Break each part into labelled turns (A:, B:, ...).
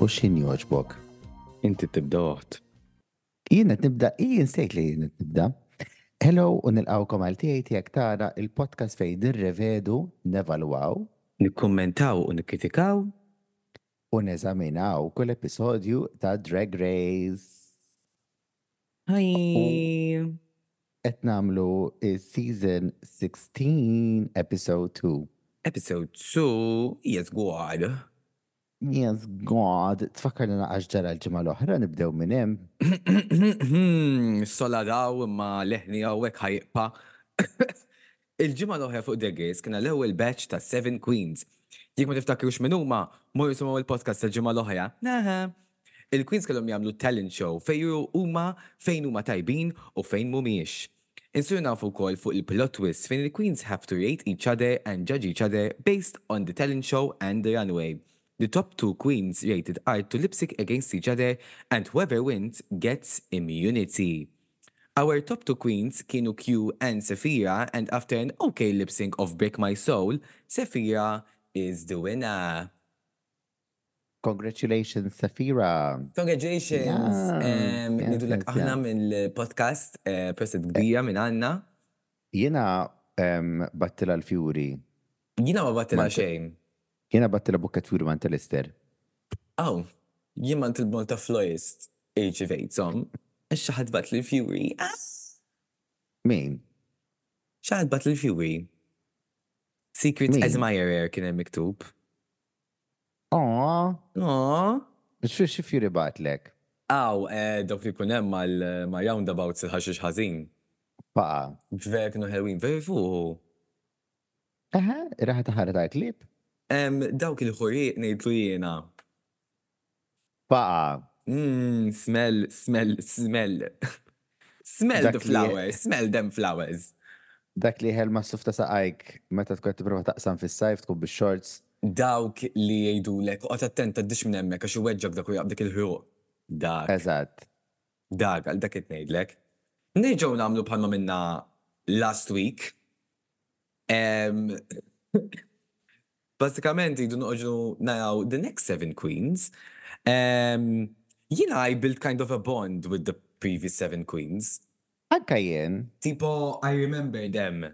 A: u xin joġbok.
B: Inti tibda uħt.
A: Jiena nibda, jien sejt li jiena nibda. Hello u nilqawkom għal tiegħi jekk tara il-podcast fejn nirrevedu, nevalwaw
B: Nikkommentaw u nikkritikaw
A: u neżaminaw kull episodju ta' Drag Race.
B: Hi.
A: Qed namlu season 16 episode 2.
B: Episode 2, yes, good.
A: Yes, God, tfakkar li naqax ġara l-ġimgħa l-oħra nibdew minn hemm.
B: Sola daw imma leħni għawek ħajqpa. Il-ġimma l-oħra fuq Degis kiena l-ewwel batch ta' Seven Queens. Jek ma tiftakrux minn huma, morru semgħu il-podcast tal-ġimgħa l-oħra. Naħa. Il-Queens kellhom jagħmlu talent show fejn juru huma fejn huma tajbin u fejn mhumiex. Insur nafu wkoll fuq il-plot twist fejn il-Queens have to rate each other and judge each other based on the talent show and the runway. The top two queens rated are to lipstick against each other and whoever wins gets immunity. Our top two queens, Kinu Q and Safira, and after an okay lip sync of Break My Soul, Safira is the winner.
A: Congratulations, Safira.
B: Congratulations!
A: Yes,
B: Um,
A: yes,
B: Nidu l
A: yes,
B: aħna
A: yes.
B: mill-podcast, eh, proset kbira minn għanna.
A: Jiena em, battila l-fjuri.
B: Jina ma battila
A: Ma-
B: xejn.
A: Jiena battila bukkat fjuri ma' tal-ister.
B: Aw, jien ma il-bon ta' florist irċivejtom. Xaħat bat l-Fury.
A: Min?
B: Xaħat bat l-Fury. Secret
A: Min?
B: Admirer kien hemm miktub.
A: Oh,
B: Aww.
A: xie xie fjuri batlek.
B: Aw, eh, dawk li kun hemm mal- ma' roundabouts il-ħaxix ħażin.
A: Paqa.
B: Vera kienu ħelwin, veri fuq.
A: Aha, raħa taħara ta' klip.
B: Dawk il-ħuriq ngħidlu jiena.
A: Paqa.
B: Mmm, smell, smell, smell. Smell
A: Dak
B: the
A: li-
B: flowers, smell them flowers.
A: Dak li ħel ma' sufta saqajk, meta tkun tipprova taqsam fis-sajf tkun bix-shorts.
B: dawk li jgħidu lek, u attenta d-dix minn emmek, għax weġġak dak u jgħabdik il-ħruq. Dak,
A: Eżatt.
B: dak, għal dak it-nejd lek. Nerġaw namlu bħalma minna last week. Em, Basikament jgħidu noġnu naraw the next seven queens. Em, Jina I built kind of a bond with the previous seven queens.
A: Anka jien,
B: Tipo, I remember them.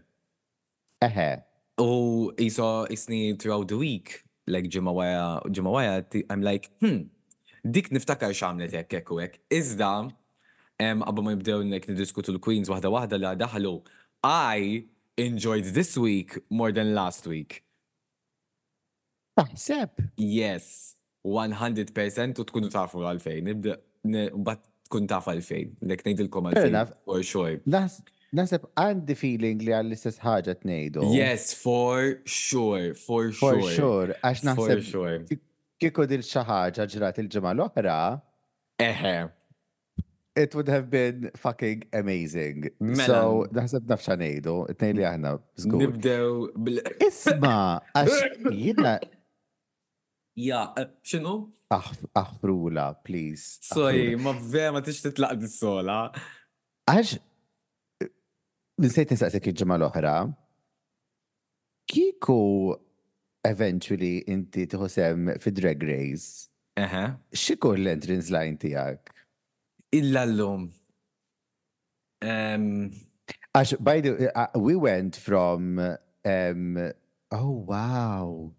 A: eħe,
B: Oh, he saw isni throughout the week, like ġimawaya, ġimawaya, ti- I'm like, hmm, dik niftakar xamlet hekk hekk u hekk. Iżda, em, qabel ma nibdew nek nidiskutu l-Queens waħda waħda li daħlu, I enjoyed this week more than last week.
A: taħseb.
B: Yes, 100% u tkunu tafu għalfejn, nibda, ne- mbagħad tkun taf għalfejn, nek ngħidilkom għalfejn,
A: enough.
B: for sure.
A: Nas- Naseb għandi feeling li għall-istess ħaġa tnejdu.
B: Yes, for sure, for
A: For
B: sure.
A: sure, għax
B: For
A: naħseb
B: sure.
A: kieku dil xi ħaġa ġrat il-ġimgħa l-oħra,
B: Eħe.
A: it would have been fucking amazing.
B: Mela.
A: So, naħseb nafxa ngħidu, it-tnejn li aħna żgur.
B: Nibdew bil.
A: Isma, għax jina
B: Ja, eh, xinu?
A: aħfrula, please.
B: Sorry,
A: aħfrula.
B: ma vera ma tix titlaq dis-sola.
A: Għax, nisajt nisaqsek il-ġemma l-oħra, kiku eventually inti tħosem fi Drag Race,
B: Eħe.
A: xikur l-entrance line tijak?
B: Illa l-lum. Em,
A: Għax, by the way, uh, we went from, um, oh wow,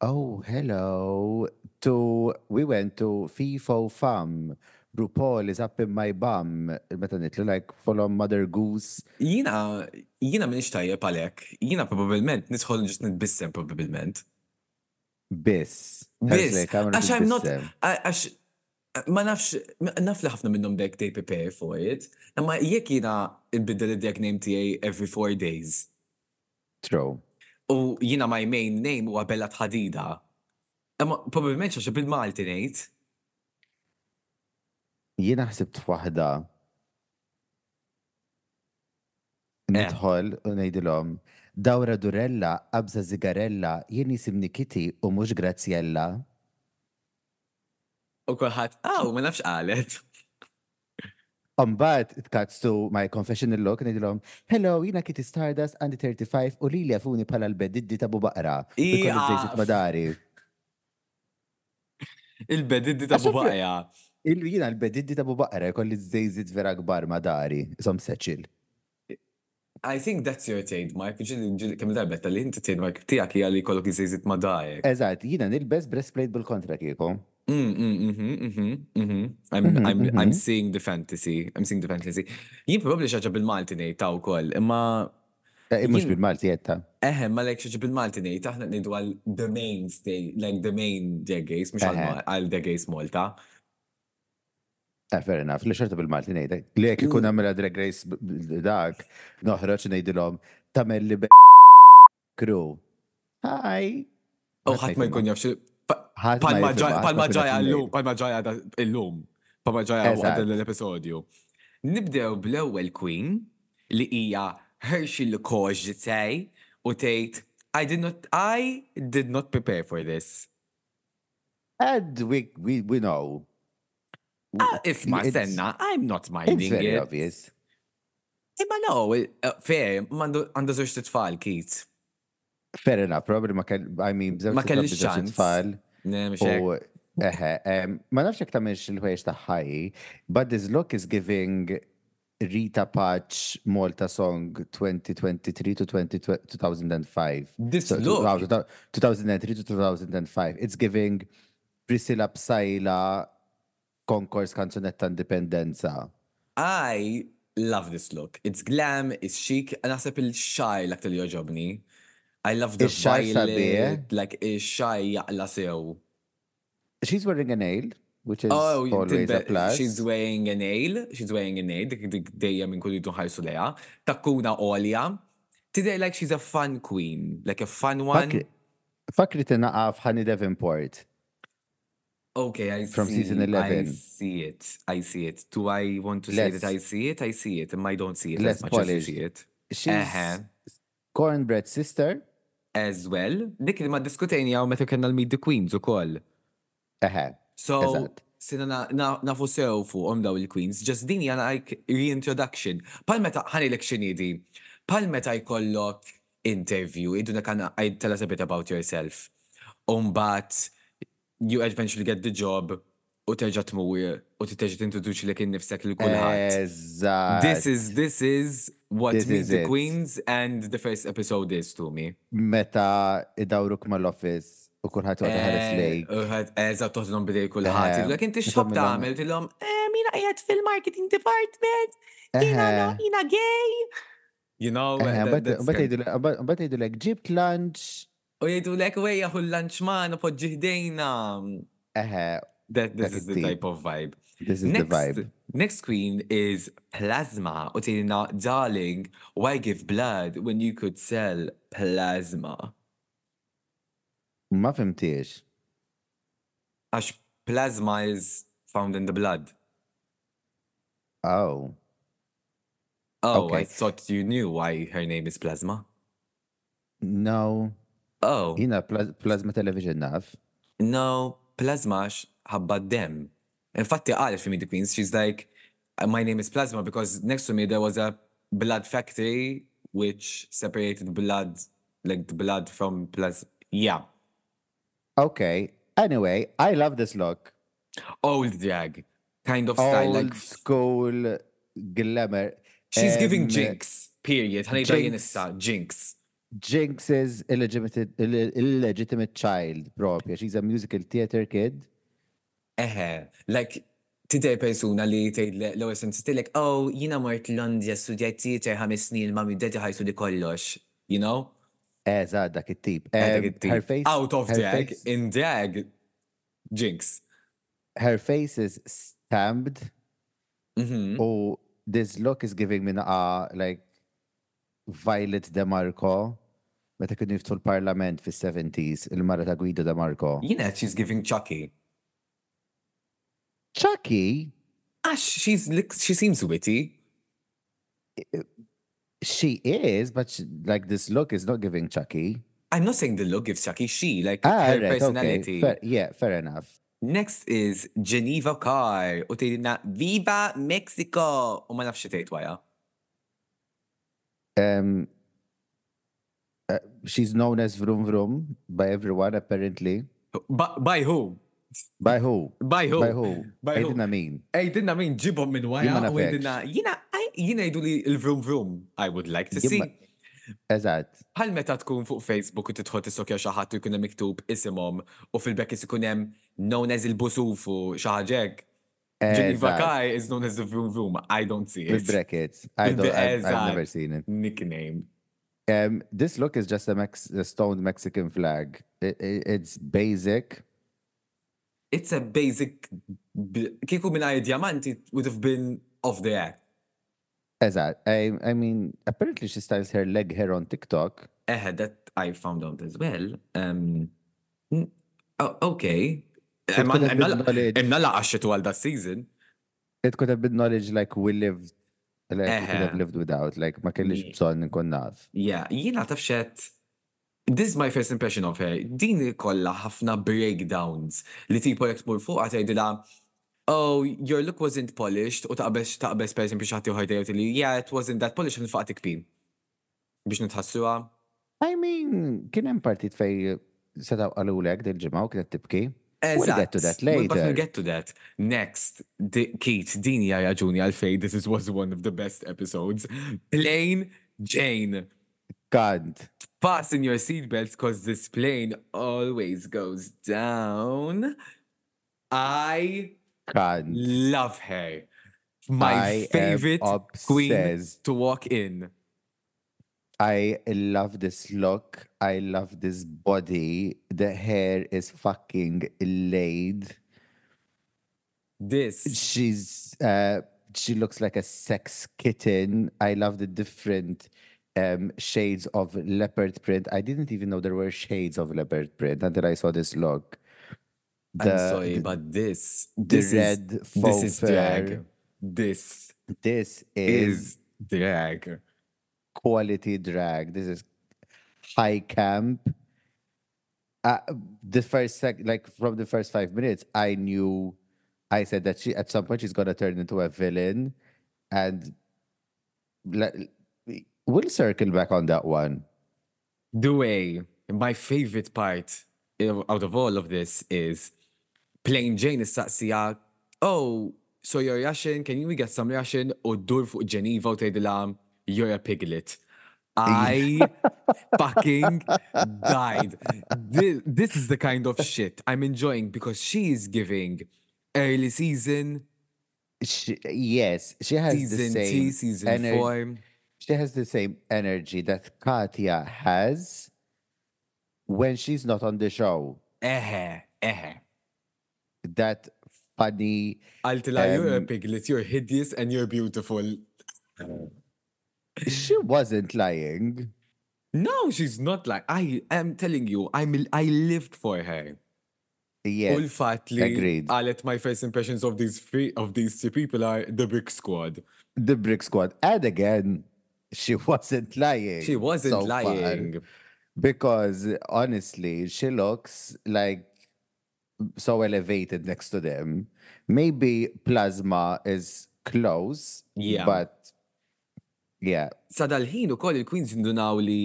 A: oh hello, to, we went to FIFO FAM, RuPaul is up in my bum, meta nitlu, like, follow mother goose.
B: Jina, jina minix tajjeb għalek. Jina probabilment nisħol ġist nitbissem probabilment.
A: Biss.
B: Biss,
A: Għax, like,
B: għax I'm not-
A: titbissem.
B: A- Għax, ma nafx, ma- naf li ħafna minnom dek they prepare for it. Imma jek jina il-bidda li dek name tijaj every four days.
A: True.
B: U jina my main name u għabella tħadida. Imma probabilment xax bil-Malti nejt.
A: Jiena ħsibt f'waħda.
B: Eh.
A: Nidħol u ngħidilhom Dawra Durella, Abza Zigarella, jien jisimni Kitty u mhux Graziella.
B: U kolħat, aw, ma nafx qalet.
A: Umbat, Um, it cuts to my confessional look, ngħidilhom hello, jiena Kitty Stardust, għandi 35 u lili għafuni bħala l-bediddi ta' bubaqra.
B: Ija.
A: Madari.
B: Il-bediddi ta' bubaqja.
A: Il-jina l-bediddi ta' bubaqra jkolli zejzit vera kbar ma dari, som seċil.
B: I think that's your taint, Mike. Ġili- ġili- Kemm darba tal inti taint, Mike, tijak hija li kollok jizizit ma dajek.
A: Eżat, jina nilbes breastplate bil-kontra kieku.
B: eh? Mm, mm, mhm, mhm, mhm. I'm,
A: Mhm,
B: I'm, I'm
A: mhm.
B: seeing the fantasy. I'm seeing the fantasy. Jien probabli xaġa bil-Malti nejta u koll, imma
A: Mux
B: Jien-
A: E, bil-Malti jetta.
B: eħe, ma lek xaġa bil-Malti nejta, ħna nejdu għal the main stay, like the main degħis, mux
A: Eħe.
B: għal degħis Malta.
A: Ah, fair enough, li xorta bil-Malti nejda. Li jek ikun għamela drag race b- b- dak, noħroċ nejdilom, tamel li b- crew. Hi!
B: U ħat ma jkun jafx.
A: Ħadd ma
B: Palma
A: jifhem, ħadd ma
B: ġaja
A: jkun jaf
B: l-lum, palma ġaja da- l-lum, palma ġaja
A: Eżatt.
B: għadda l-episodju. Nibdew bl-ewel queen li hija Hershey Lukoġ tej u tgħid I did not I did not prepare for this.
A: And we, we, we know.
B: Ah, Isma
A: It's-
B: senna, I'm not
A: It's
B: minding
A: very
B: it.
A: obvious.
B: Imma no, eh, fair, għandu żewġ titfal kit.
A: Fair enough, probably ma kell, I mean, bżewġ
B: Ma
A: titfal,
B: kellix
A: bżewġ
B: ċans.
A: titfal.
B: Ne, mhux hekk.
A: U eħe, em, ma nafx jek tamilx il-ħwejx ta' ħaj, but this look is giving Rita Patch Malta Song 2023 to 20, 2005.
B: This
A: So,
B: look.
A: 2000 2003 to 2005. It's giving Priscilla Psaila Concourse Kanzunetta Indipendenza.
B: I love this look. It's glam, it's chic, and naħseb il-xaj l-aktar li joġobni. I love the
A: Ix-xaj
B: violet,
A: sabiħ.
B: like il-xaj jaqla sew.
A: She's wearing a nail, which is
B: Oh,
A: always a
B: tinbe-
A: plus.
B: she's wearing a nail, she's wearing a nail, dik dik dejja minn kulli ħajsu leja. Takkuna olja. Today, like, she's a fun queen, like a fun one.
A: Fakri- Fakri tinaqaf Honey Davenport.
B: Okay, I
A: From
B: see.
A: season
B: I
A: 11.
B: see it. I see it. Do I want to say that
A: Less-
B: I see it? I see it, and I don't see it
A: less
B: as much as you
A: polished.
B: see it. Uh-huh.
A: She's
B: Eħe.
A: Cornbread Sister.
B: as well. Dik li ma diskutejnija u meta kellna l-Meet the Queens ukoll.
A: Eħe.
B: So,
A: Eżatt.
B: sena na- na- nafu sew fuqhom daw il-Queens, just din hija like reintroduction. Pal meta ħanilek x'inhi din. Pal meta jkollok interview, iduna kana I tell us a bit about yourself. Umbat you eventually get the job u terġa' tmur u terġa' tintroduċi lek innifsek lil kulħadd.
A: Eżatt.
B: This is this is what
A: Eh, ah. This
B: Meet
A: is
B: the
A: it.
B: Queens and the first episode is to me.
A: meta idawruk mal-office u kulħadd għadha ħares
B: Eh, Uh,
A: lejk.
B: oh, Eżat toħdilom bidej kullħat.
A: Eh,
B: Jgħak inti
A: nifhem
B: xħab ta' għamil, tilom, mina għajat fil-marketing department,
A: Uh-huh.
B: jina no,
A: Eħe.
B: jina gay. You
A: Eħe,
B: know, that-
A: mbagħad-
B: that's Oh,
A: mbagħad
B: kind-
A: jgħidulek- mbagħad mbagħad jgħidulek ġibt lunch.
B: u jgħidu lek wejja hu l-lanċman u poġġihdejna.
A: Eħe,
B: um, That this
A: Dak
B: is the
A: it-tip.
B: type of vibe.
A: Uh-huh. this is the
B: Next,
A: vibe.
B: next queen is Plasma. U tgħidilna, darling, why give blood when you could sell plasma?
A: Ma fimtiex.
B: Għax plasma is found in the blood.
A: Oh.
B: Oh, I
A: Okay.
B: thought you knew why her name is Plasma.
A: No.
B: Oh,
A: Jina pla- plasma television naf.
B: no, Plasma x- ħabba dem. Infatti, għalet fi Meet the Queens, she's like, "Uh, my name is Plasma because next to me there was a blood factory which separated blood, like the blood from plasma. Yeah,
A: Okay. Anyway, I love this look.
B: old drag kind of style.
A: Old
B: Like,
A: school glamour. Um,
B: she's giving
A: Em,
B: jinx, period. Ħanejda jien
A: Jinx.
B: issa, jinx.
A: Jinx is illegitimate, ille- illegitimate child propja. She's a musical theater kid.
B: Eħe, like, tidej persuna li tgħid l-ewwel sensi tilek, oh, jiena mort Londra studjajt teater ħames snin mami dedi ħajsu li kollox, you know?
A: Eżad, dak it-tip.
B: Dak
A: Em, Um,
B: it-tip.
A: Her face.
B: Out of
A: her
B: drag,
A: face-
B: in drag, jinx.
A: her face is stamped.
B: Mm-hmm. Mhm.
A: Oh, this look is giving me a like Violet DeMarco. Meta kienu jiftu l-parlament fis 70s, il-mara ta' Guido DeMarco.
B: Jiena she's giving Chucky.
A: Chucky,
B: Għax Ah, she's lik- she seems witty.
A: she is, but she- like this look is not giving Chucky.
B: I'm not saying the look gives Chucky, she, like
A: Ah,
B: her
A: right, okay.
B: personality.
A: Fair, yeah, fair enough.
B: Next is Geneva Carr, u tgħidilna Viva Mexico! Oh, U ma nafx xi tgħid wara.
A: Um, uh, she's known as Vroom Vroom by everyone, apparently.
B: By by who?
A: By who?
B: By who?
A: By who?
B: By who?
A: Aidin Amin.
B: Ejdinna min ġibom minn
A: Jien
B: wara
A: ma
B: u
A: nafekx.
B: ejdinna jina aj- jina jdu li il-vroom vroom I would like to
A: Jien
B: see.
A: ma- Eżatt.
B: Bħal meta tkun fuq Facebook u titħod tissokja xi ħadd u jkun hemm miktub isimhom u fil-bekk is ikun hemm known as il-busuf u xi ħaġek. Geneva
A: eżatt.
B: Iva Kai is known as the vroom vroom. I don't see
A: With
B: it.
A: brackets. I
B: With
A: don't,
B: the
A: I've, I've
B: eżatt.
A: never seen it.
B: Nickname.
A: Um, this look is just a, Mex- a stoned Mexican flag. It, it, it's basic.
B: It's a basic b- kieku minn diamant it would have been off the air.
A: Eżatt. I, I mean, apparently she styles her leg hair on TikTok.
B: Eh, that I found out as well. Um, mm, oh, okay.
A: It could have been knowledge.
B: Imna laqaxet għal da season.
A: It could have been knowledge like we lived, like we could have
B: Eħe.
A: lived without. Like ma kellix
B: Ye-
A: bżonn nkun naf.
B: Yeah, jina tafxet. This is my first impression of her. Din kolla ħafna breakdowns li tipo jek tmur fuq għatajdila. Oh, your look wasn't polished u taqbes taqbes per esempio xaħti uħajda jgħu li yeah, it wasn't that polished għan faqtik pin. Biex nitħassuha.
A: I mean, kien hemm partit fej setaw għalulek dil-ġimgħa u kienet tibki. We'll get to
B: Eżatt.
A: that
B: Well, But
A: later.
B: we'll get to that. Next, di- Kate, din hija raġuni għalfej, this is, was one of the best episodes. Plain Jane,
A: Kant.
B: fasten your seatbelts because this plane always goes down. I
A: Kant.
B: love her. My
A: I am
B: favorite queen
A: obsessed.
B: to walk in.
A: I love this look. I love this body. The hair is fucking laid.
B: This.
A: She's uh she looks like a sex kitten. I love the different um shades of leopard print. I didn't even know there were shades of leopard print until I saw this look.
B: I'm
A: The-
B: sorry,
A: the-
B: but this.
A: the
B: This is,
A: red
B: this
A: faux
B: is
A: fur.
B: drag. This
A: This is
B: is drag.
A: quality drag. This is high camp. Uh, the first sec, like from the first five minutes, I knew. I said that she at some point she's gonna turn into a villain, and le- we'll circle back on that one.
B: the way my favorite part of- out of all of this is plain Jane is saqsija, oh, so you're Russian, can we get some Russian? U dur fuq Geneva u tgħidilha, you're a piglet. I fucking died. This, this is the kind of shit I'm enjoying because she is giving early season,
A: She, yes, she has the
B: season
A: same
B: two, season
A: ener-
B: four.
A: She has the same energy that Katya has when she's not on the show.
B: Eħe, eħe.
A: That funny,
B: Għaltila, you're a
A: Um,
B: piglet, you're hideous and you're beautiful.
A: she wasn't lying.
B: No, she's not like I am telling you, I'm I lived for her.
A: Yes.
B: All fatly
A: agreed.
B: let my first impressions of these three of these two people are the brick squad.
A: the brick squad. And again, she wasn't lying.
B: She wasn't
A: so far,
B: lying.
A: because honestly, she looks like so elevated next to them. Maybe plasma is close.
B: Yeah.
A: But yeah.
B: Sa dal-ħin ukoll il-Queens jindunaw li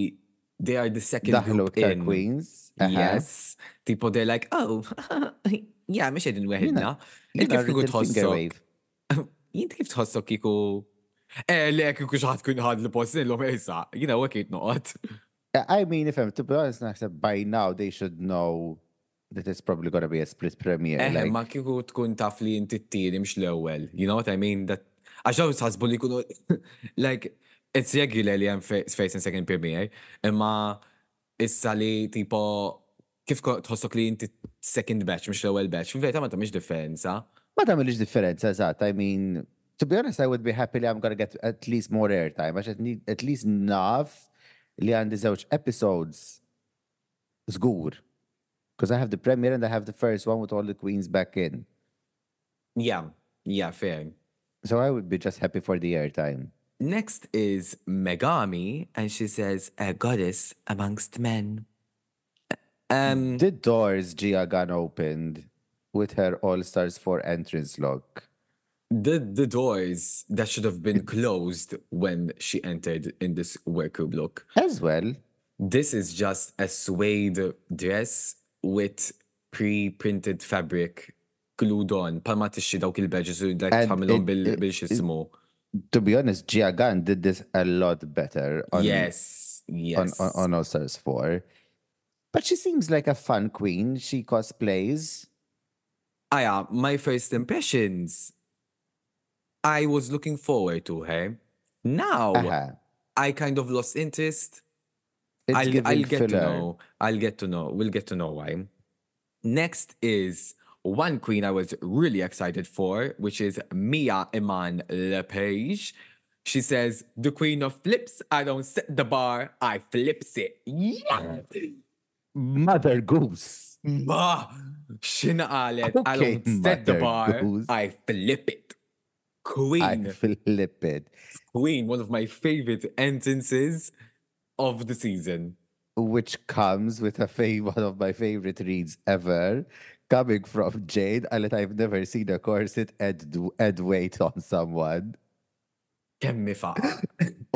B: they are the second
A: Daħlu
B: group
A: iktar
B: in.
A: queens. uh-huh.
B: Yes. Tipo they're like, oh, yeah, mhux qegħdin weħedna. Inti kif kieku tħossok? Inti kif tħossok kieku? Eh, le kieku xi ħadd kien ħad l-post illum issa. Jiena wekit noqgħod.
A: I mean, if I'm to be honest, naħseb by now they should know that it's probably gonna be a split premiere.
B: Eh,
A: like,
B: ma kieku tkun taf li inti t-tiri mx l-ewel. You know what I mean? That għaxaw sħasbu li kunu, like, it's regular li għan face and second premiere, imma issa li tipo, kif ko- tħossok li inti second batch mx l-ewel batch, fil-veta ma tamiex differenza.
A: Ma tamilix differenza, eżatt. I mean, to be honest, I would be happy li I'm gonna get at least more airtime, għax at need- at least naf li għandi żewġ episodes zgur. Because I have the premiere and I have the first one with all the queens back in.
B: Yeah, yeah, fair.
A: So I would be just happy for the airtime.
B: Next is Megami, and she says, a goddess amongst men. Um,
A: The doors Gia Gunn opened with her All Stars 4 entrance look.
B: the the doors that should have been closed when she entered in this workroom look.
A: As well,
B: This is just a suede dress with pre-printed fabric glued on, palma tixxi dawk il-badges u dak
A: And
B: tagħmilhom
A: it-
B: bil-
A: it-
B: bil-xismu.
A: To be honest, Gia Gunn did this a lot better on,
B: Yes,
A: on,
B: yes.
A: on, on All Stars 4. But she seems like a fun queen. She cosplays.
B: Aya, Ah, my first impressions. I was looking forward to her. Now
A: Aha.
B: I kind of lost interest.
A: It's
B: I'll,
A: giving
B: I'll get
A: filler.
B: to know. I'll get to know. We'll get to know why. Next is one queen I was really excited for, which is Mia Iman LePage. She says, "The queen of flips. I don't set the bar. I flips it." Yeah.
A: Mother Goose.
B: Ma, xina qalet,
A: Mm.
B: I
A: Okay,
B: don't set the
A: Mother
B: bar,
A: Goose.
B: I flip it.
A: I
B: Queen,
A: flip it.
B: queen, one of my favorite sentences of the season.
A: Which comes with a fav- one of my favorite reads ever. Coming from Jade, I let I've never seen a corset add, d- add weight on someone.
B: Kemmi faqa.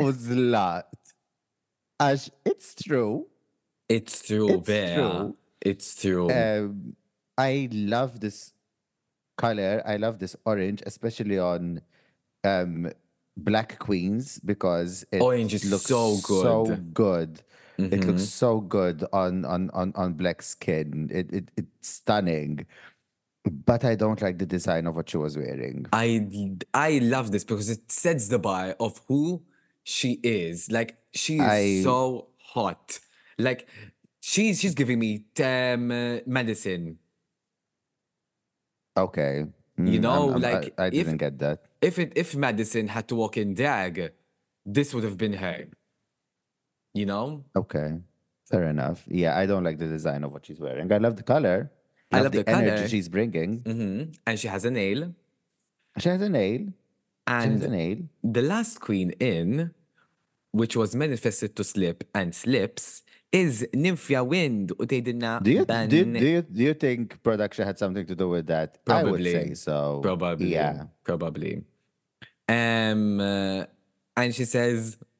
A: Uzlat. Ash, it's true.
B: It's true,
A: It's
B: Bea.
A: true.
B: It's true.
A: Um, I love this color. I love this orange, especially on um, Black Queens because it
B: Orange is
A: looks
B: so
A: So
B: good.
A: good. It
B: Mhm.
A: looks so good on on on on black skin. It, it it's stunning. But I don't like the design of what she was wearing.
B: I I love this because it sets the bar of who she is. Like she is
A: I-
B: so hot. Like she's she's giving me um, uh, medicine.
A: Okay.
B: You
A: Mm,
B: know,
A: I'm- I'm-
B: like,
A: I, I
B: if-
A: didn't get that.
B: if it if Madison had to walk in drag, this would have been her. You know?
A: Okay. Fair enough. Yeah, I don't like the design of what she's wearing. I love the color.
B: I love the colour.
A: energy she's bringing.
B: Mhm. And she has a nail.
A: She has a nail. She has a
B: And
A: nail.
B: the last queen in, which was manifested to slip and slips, is Nymphia Wind. U tgħidilna
A: Do you,
B: ban-
A: do, you, do, you, do you think production had something to do with that? I would say
B: Probably.
A: so.
B: Probably.
A: Yeah.
B: Probably. Um, uh, and she says,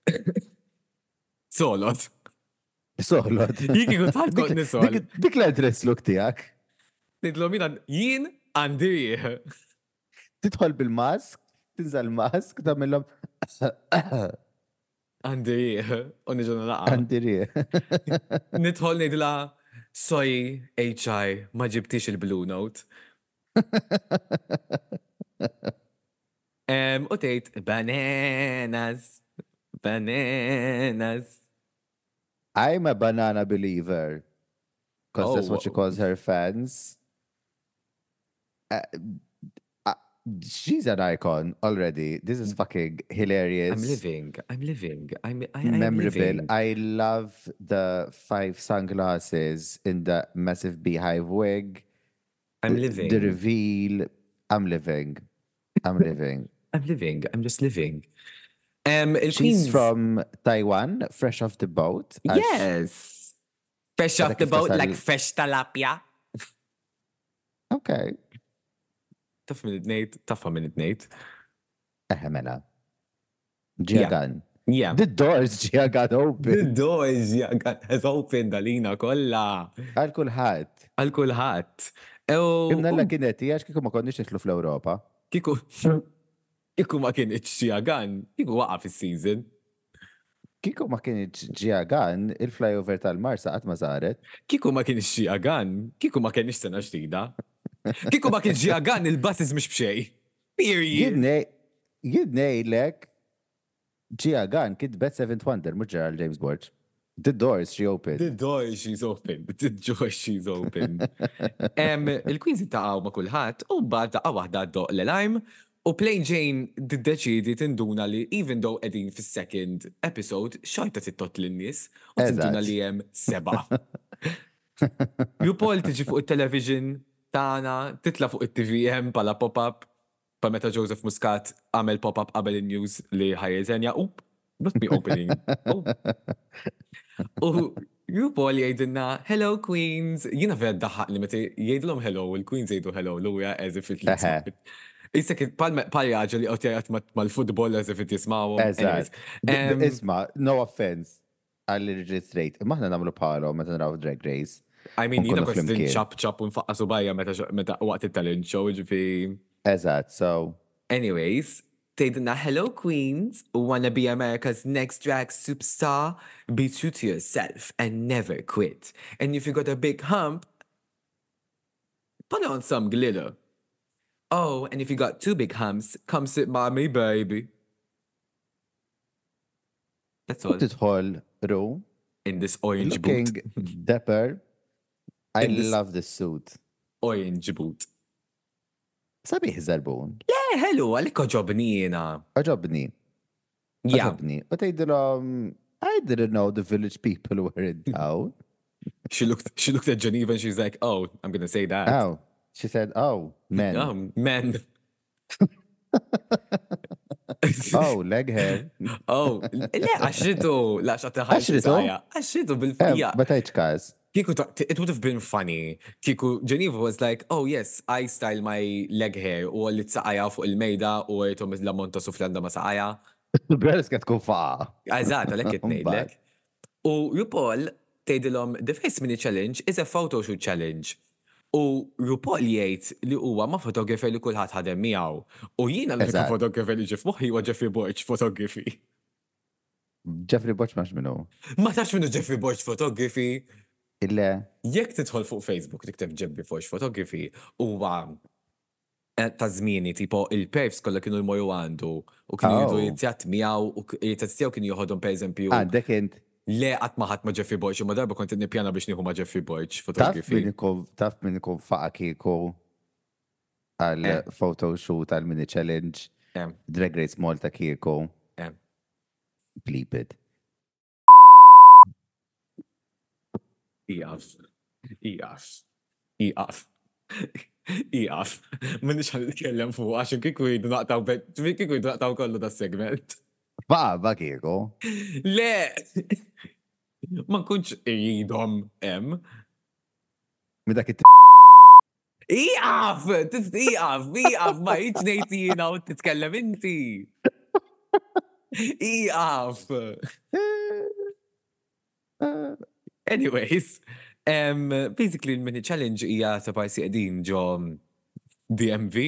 B: Solot.
A: So, lot.
B: Jien kieku tħallqot
A: Dik-
B: nisol.
A: dik- Dik l-adress look tijak.
B: Nidlomina jien għandi.
A: Titħol bil-mask, tinżal mask, tamillom
B: Għandi. Unniġuna laqa.
A: għandiri.
B: Nidħol nidla sorry HI ma ġibtix il-Blue Note. Em, U tgħid Um, bananas, bananas.
A: I'm a banana believer. Because that's what she
B: Oh.
A: calls her fans. Uh, uh, she's an icon already. This is fucking hilarious.
B: Mm. I'm living, I'm living, I'm I, I'm
A: memorable.
B: living.
A: I love the five sunglasses in the massive beehive wig.
B: I'm
A: The
B: living,
A: reveal. I'm living. I'm living.
B: I'm living, I'm just living. Um, Em,
A: She's
B: il-Queens.
A: from Taiwan, fresh off the boat. Ash.
B: Yes. Fresh
A: Għadha
B: off the
A: kif
B: boat,
A: tasal-
B: like fresh talapia.
A: Okay.
B: Taf minn it-nejt, tafa minn it-nejt.
A: Eh, Eħemela. Gia
B: Yeah.
A: Gunn.
B: Yeah.
A: The doors Gia Gunn
B: The
A: open.
B: door is yeah, has opened għalina kolla.
A: Għal kulħadd.
B: Għal kulħadd.
A: Imna
B: Ew,
A: l kienet għax kiku ma konniex nitlu fl-Europa.
B: kiku kiku ma kienx xi għan, kiku waqaf is-season.
A: Kiku ma kienieċ Gia Gunn, il-flyover tal-Marsa qatt ma saret.
B: Kiku ma kienx xi għan, kiku ma kienx sena ġdida. Kiku ma kienx xi għan il-basis mhux b'xej. Period.
A: Jidnej, jidnej lek, Gia Gunn kitbet Seventh Wonder, mux Gerald James Borch. The doors she opened.
B: The door she's open. The door she's open. Em, Il-Queens intaqgħu ma' kulħadd u mbagħad taqa' waħda doq l-alarm u Plain Jane tiddeċidi tinduna li even though qegħdin fis-second episode xorta tittot lin-nies u tinduna
A: Eżatt.
B: li hemm seba'. Jupol tiġi fuq il-television tagħna, titla fuq it-TVM bħala pop-up pa meta Joseph Muscat għamel pop-up qabel in-news li ħajjeżenja u not me opening. Oh, U RuPaul jgħidilna, hello Queens, jina vera daħaq li meta jgħidlhom hello, u l-Queens jgħidu hello, l-uja as if it
A: Eħe.
B: Issa kien pal pal jaġa li qotjajat mal-football as if it jismawu.
A: Eżat.
B: Em,
A: Isma, no offense għall reġistrate Maħna namlu palo meta naraw Drag Race.
B: I mean, jina
A: Unkunu
B: kont din
A: flimkien.
B: ċap ċap un faqqa subajja meta meta waqt il-talent show, ġifi.
A: Eżat, so
B: Anyways, tgħidilna hello queens, wanna be America's next drag superstar, be true to yourself and never quit. And if you got a big hump, put on some glitter. Oh, and if you got two big humps, come sit by me, baby. That's all.
A: titħol ru
B: In this orange
A: looking
B: boot.
A: dapper. I
B: In this-
A: love this suit.
B: Orange boot.
A: Sabiħ zarbun.
B: Eh, hello, għalikko ġobni jena.
A: Oġobni.
B: Yeah,
A: Oġobni. U tejdilom, I didn't know the village people were in town.
B: she looked, she looked at Geneva and she's like, oh, I'm gonna say that.
A: Oh, she said, oh, men.
B: Oh, men.
A: Oh, leg hair.
B: oh, le, għaxritu, la xatta
A: Għaxritu?
B: ħaxritu. Għaxritu bil-fija.
A: Ma tajċ każ.
B: Kiku, ta- it would have been funny. Kiku, Geneva was like, oh yes, I style my leg hair u li t-saqaja fuq il-mejda u għajtu la monta suflanda ma saqaja.
A: Il-brellis kħat kun faqa.
B: Għazat, għalek it-nejdlek. U RuPaul tejdilom, the face mini challenge is a photo shoot challenge. U RuPaul jgħid li huwa ma fotografer li kulħadd ħadem miegħu. U jiena l-unika
A: Eżatt.
B: fotografer li ġif moħħi huwa Jeffrey Borch photography.
A: Jeffrey Botch max minnu.
B: Ma tax minnu Jeffrey Borch photography.
A: Ille,
B: Jekk tidħol fuq Facebook tikteb Jeffrey Borch photography huwa eh, ta' żmieni tipo il-perfs kollha kienu jmorru għandu u kienu jridu
A: Oh.
B: jittjat miegħu u k- jittjat tiegħu kienu joħodhom pereżempju
A: għandek int,
B: le qatt ma ħadd ma' Jeffrey Borch u ma darba kont nippjana biex nieħu ma' Jeffrey Borch
A: taf
B: photography.
A: min ikun, taf min ikun faqa kiku għal
B: Eh.
A: uh, photo shoot, għal mini challenge,
B: Eh,
A: Drag Race Malta kiku,
B: eh.
A: bleep it.
B: Iqaf. Iqaf. Iqaf. Iqaf. Minnix ħan nitkellem fuq għaxin kiku jidu naqtaw bet, kiku jidu naqtaw kollu da segment.
A: Faqa ba kiku.
B: Le! Ma nkunx jidhom em.
A: Midak it
B: Iqaf! Tis- Iqaf! Iqaf! Ma iċ nejti jina u titkellem inti! Iqaf!
A: Ah,
B: Eh. Anyways, um, basically il-mini challenge hija ta' pajsi qegħdin ġo DMV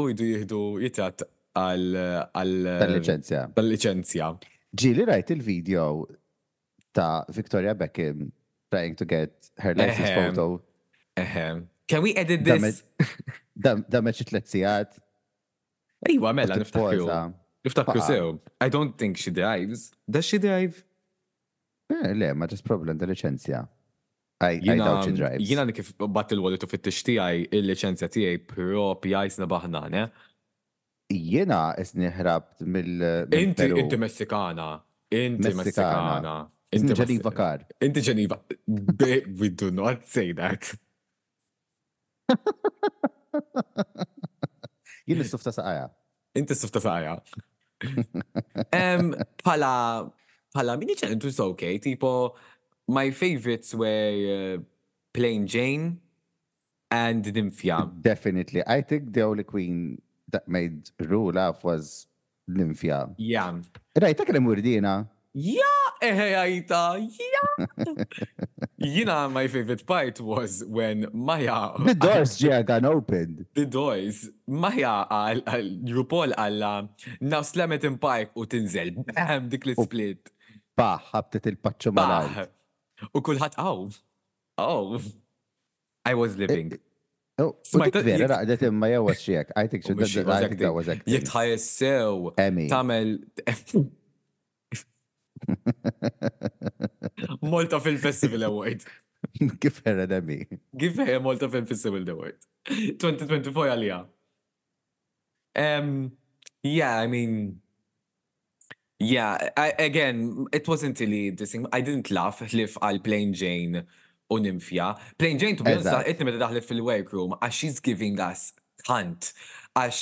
B: u jdu jihdu jitat għal għal-
A: tal-licenzja.
B: tal-licenzja.
A: Ġili rajt il-video ta' Victoria Beckham trying to get her license
B: Ehem.
A: photo.
B: Ehe. Can we edit
A: Damet
B: this?
A: damet xi tliet sigħat.
B: Ejwa, mela,
A: u
B: niftakru.
A: tippoza.
B: Niftakru
A: Faqa.
B: sew. I don't think she drives. Does she drive?
A: Eh, Le, ma ġas problem ta' licenzja. I, I
B: Jina,
A: doubt she drives.
B: jina li kif bat il-wallet u fit-tix tijaj il-licenzja tijaj propja jisna baħnane.
A: Jina isni ħrabt mill
B: Inti, inti Messikana. Inti
A: Messikana.
B: Messikana.
A: Inti
B: Messi-
A: ġaliva kar.
B: Inti Geneva. They- We do not say that.
A: Jien nistuf ta' saqaja.
B: Inti s-sufta saja. Em, Pala, pala, minni ċan, it was okay. Tipo, my favorites were uh, Plain Jane and Ninfja.
A: Definitely. I think the only queen that made rule off was Ninfja.
B: Yeah.
A: Rajt, ta' krem urdina.
B: Ja, eħe għajta, ja. Jina, my favorite part was when Maya,
A: The doors ġeja għan opened.
B: the doors, Maya għal, għal, Rupol għalla, now slam it in park u tinżel, bam, dik
A: Oh.
B: li split.
A: Bah, ħabtet il-paċċu mal-għal.
B: Bah! Ah. U kullħat aw. Aw. I was living.
A: Oh,
B: Smajt-
A: dik vera
B: jek-
A: raqdet imma jew was xiek. I think she
B: U mhux she
A: did
B: was
A: I think that
B: acting.
A: was
B: Jek
A: acting.
B: tħajes sew.
A: Emmy.
B: Tamel. Malta Film Festival Award.
A: Kif ħera demi.
B: Give her a Malta Film Festival Award. 2024 għalija. Um, yeah, I mean, yeah, I, again, it wasn't really this thing. I didn't laugh ħlif għal Plain Jane u nimfja. Plain Jane, to be honest,
A: Eżatt.
B: itni meta daħlet fil-workroom, għax she's giving us hunt, għax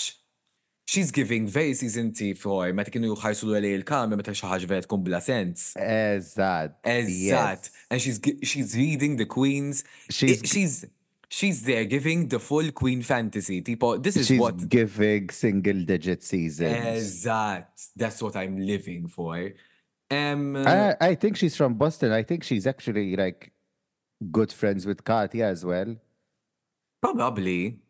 B: she's giving very season T for meta kienu juħarsu l-għalij il-kamra meta xaħġ vera tkun bla sens.
A: Eżat.
B: Eżatt.
A: yes.
B: And she's gi- she's reading the queens. She's
A: She's-
B: she's she's there giving the full queen fantasy. Tipo, this is
A: She's
B: what
A: giving single digit seasons.
B: Eżatt. That's what I'm living for. Um
A: I, I think she's from Boston. I think she's actually like good friends with Katya as well.
B: Probably.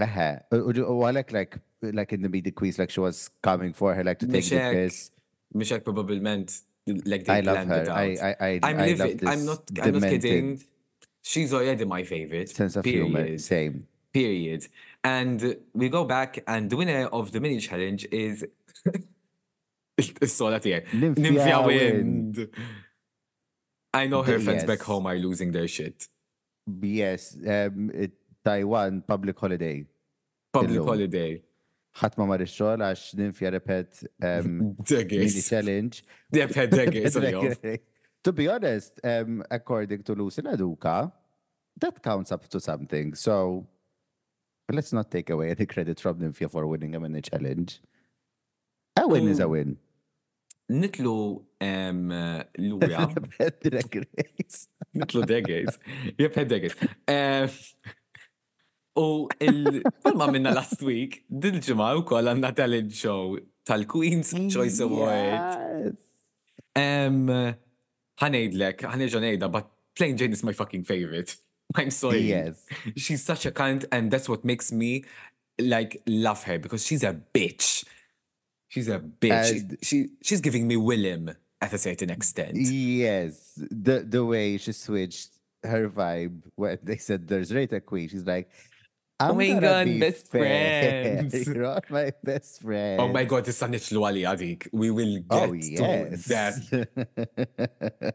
A: Uh-huh. Or like, like, like in the media quiz, like she was coming for her, like to take the
B: Mishek.
A: piss.
B: Mishek probabilment. Like they
A: I love
B: planned
A: her.
B: it out.
A: I, I, I,
B: I'm
A: I love
B: living.
A: this
B: I'm not. I'm not
A: demented
B: kidding. She's already my favorite.
A: Sense of
B: period,
A: humor. Same.
B: Period. And we go back, and the winner of the mini challenge is. Sola tiegħek.
A: Ninfja
B: Ninfja
A: Wind.
B: Wind. I know her
A: D-
B: fans back
A: yes.
B: home are losing their shit.
A: Yes. Um, it, Taiwan public holiday.
B: Public
A: Illum.
B: holiday.
A: ħadd ma mar ix-xogħol għax ninfja repet um, mini
B: Degis.
A: challenge.
B: Yep, degis. għal-jom.
A: to be honest, um, according to Lucy Laduca, that counts up to something. So let's not take away any credit from Ninfia for winning a mini challenge. A win is a win.
B: Nitlu em, eh, lura.
A: Drag race.
B: Nitlu degis. Yep, degis. Eh, U il- oh, palma minna last week, dil-ġimgħa wkoll għandna talent show tal-Queen's
A: Mm,
B: Choice Award.
A: Yes.
B: Um, ħanejdlek, ħanejġa nejda, but Plain Jane is my fucking favorite. I'm sorry.
A: Yes.
B: She's such a cunt, and that's what makes me like love her because she's a bitch. She's a bitch. She-
A: And-
B: she, she's giving me Willem at a certain extent.
A: Yes, the the way she switched her vibe when they said there's Rita Queen, she's like, I'm
B: Oh my
A: gonna
B: God,
A: be
B: best
A: fair.
B: friends."
A: You're all my best friend.
B: Oh my god, issa nitlu għali għadik. We will get
A: Oh
B: to that.
A: yes.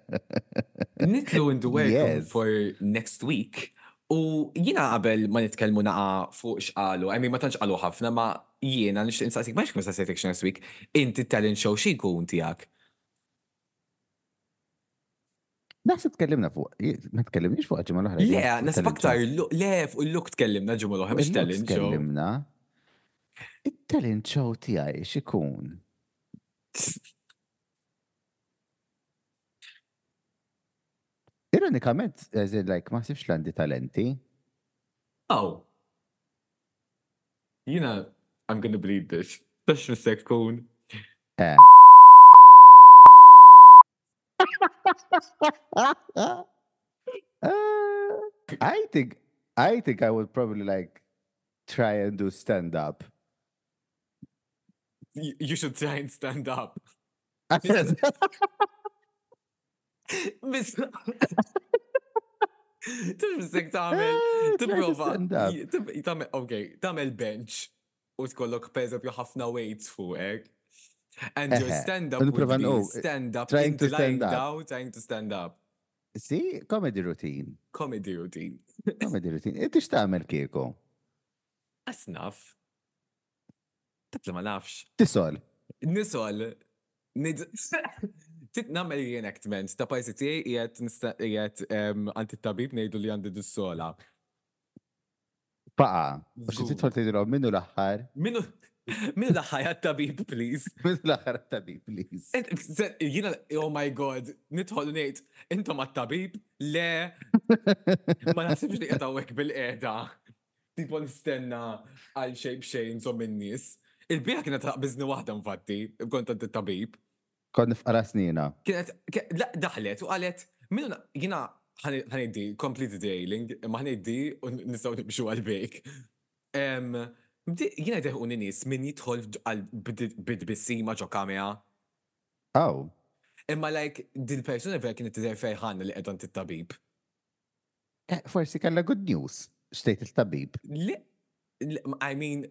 B: Nitlu in the welcome
A: Yes.
B: for next week. U jina qabel ma nitkellmu naqa fuq xqalu, I mean ma tantx qalu ħafna, ma jiena nixtieq insaqsik ma xkun saqsejtek xi next week, inti talent show xi jkun tiegħek.
A: Naħseb tkellimna fuq, i- ma tkellimniex fuq ġimgħa l-oħra.
B: Le,
A: jien, fuq
B: nasib
A: talent show.
B: aktar, lu- le, fuq il-look tkellimna ġimgħa l-oħra, mhux
A: Il-looks
B: talent show.
A: Tkellimna. Il-talent show tiegħi x'ikun? Ironikament, as in, like, ma sibx l-għandi talenti.
B: Oh. Jina, I'm gonna bleed this. Tax nisek kun.
A: Eh. Uh, I think I think I would probably like try and do stand up.
B: You you should try and stand up. Miss. Tax nisek
A: Ah,
B: tagħmel. Tipprova.
A: stand-up.
B: J- tip- tagħmel- Okay, tagħmel bench. U tkollok peżabju ħafna weights fuqek. eh? And your
A: Eħe,
B: stand-up
A: u
B: would
A: nipprova
B: be
A: nqu-
B: stand-up,
A: oh, trying to
B: inti lying
A: stand up.
B: down, trying to stand up.
A: See, comedy routine.
B: Comedy routine.
A: Comedy routine. Inti x'tagħmel kieku?
B: Asnaf. Tabla ma nafx.
A: Tisol.
B: Nisol. Nid... Titnamel reenactment ta' pajsi tiegħi qiegħed nista' qiegħed anti tabib ngħidu li għandi dissola.
A: Baqa. U xi
B: Żgur.
A: tidħol tgħidilhom minnu l-aħħar?
B: Minu minu daħħajja tabib please.
A: Minnu l-aħħar tabib, please.
B: Ent- se- Jiena oh my god, nidħol ngħid intom għat-tabib? Le, ma naħsibx li qed hawnhekk bil-qiegħda. Tipo nistenna għal xejn xejn żomm in-nies. Il-bija kienet taqbiżni waħda infatti, kont għandi tabib.
A: Kont nifqara snina.
B: kienet, ke- la- daħlet u għalet, minnu jina ħaniddi, complete dailing, ma ħaniddi u n- nistaw nimxu għal-bejk. Em, bdi- Jina deħu n-nis minn jitħol għal-bid-bissima ġo kamea.
A: Oh,
B: Imma like, dil-persona vera kienet t fejħan li għedan t-tabib.
A: eh, forsi kellha good news. Xtejt il-tabib.
B: Le, le- I mean,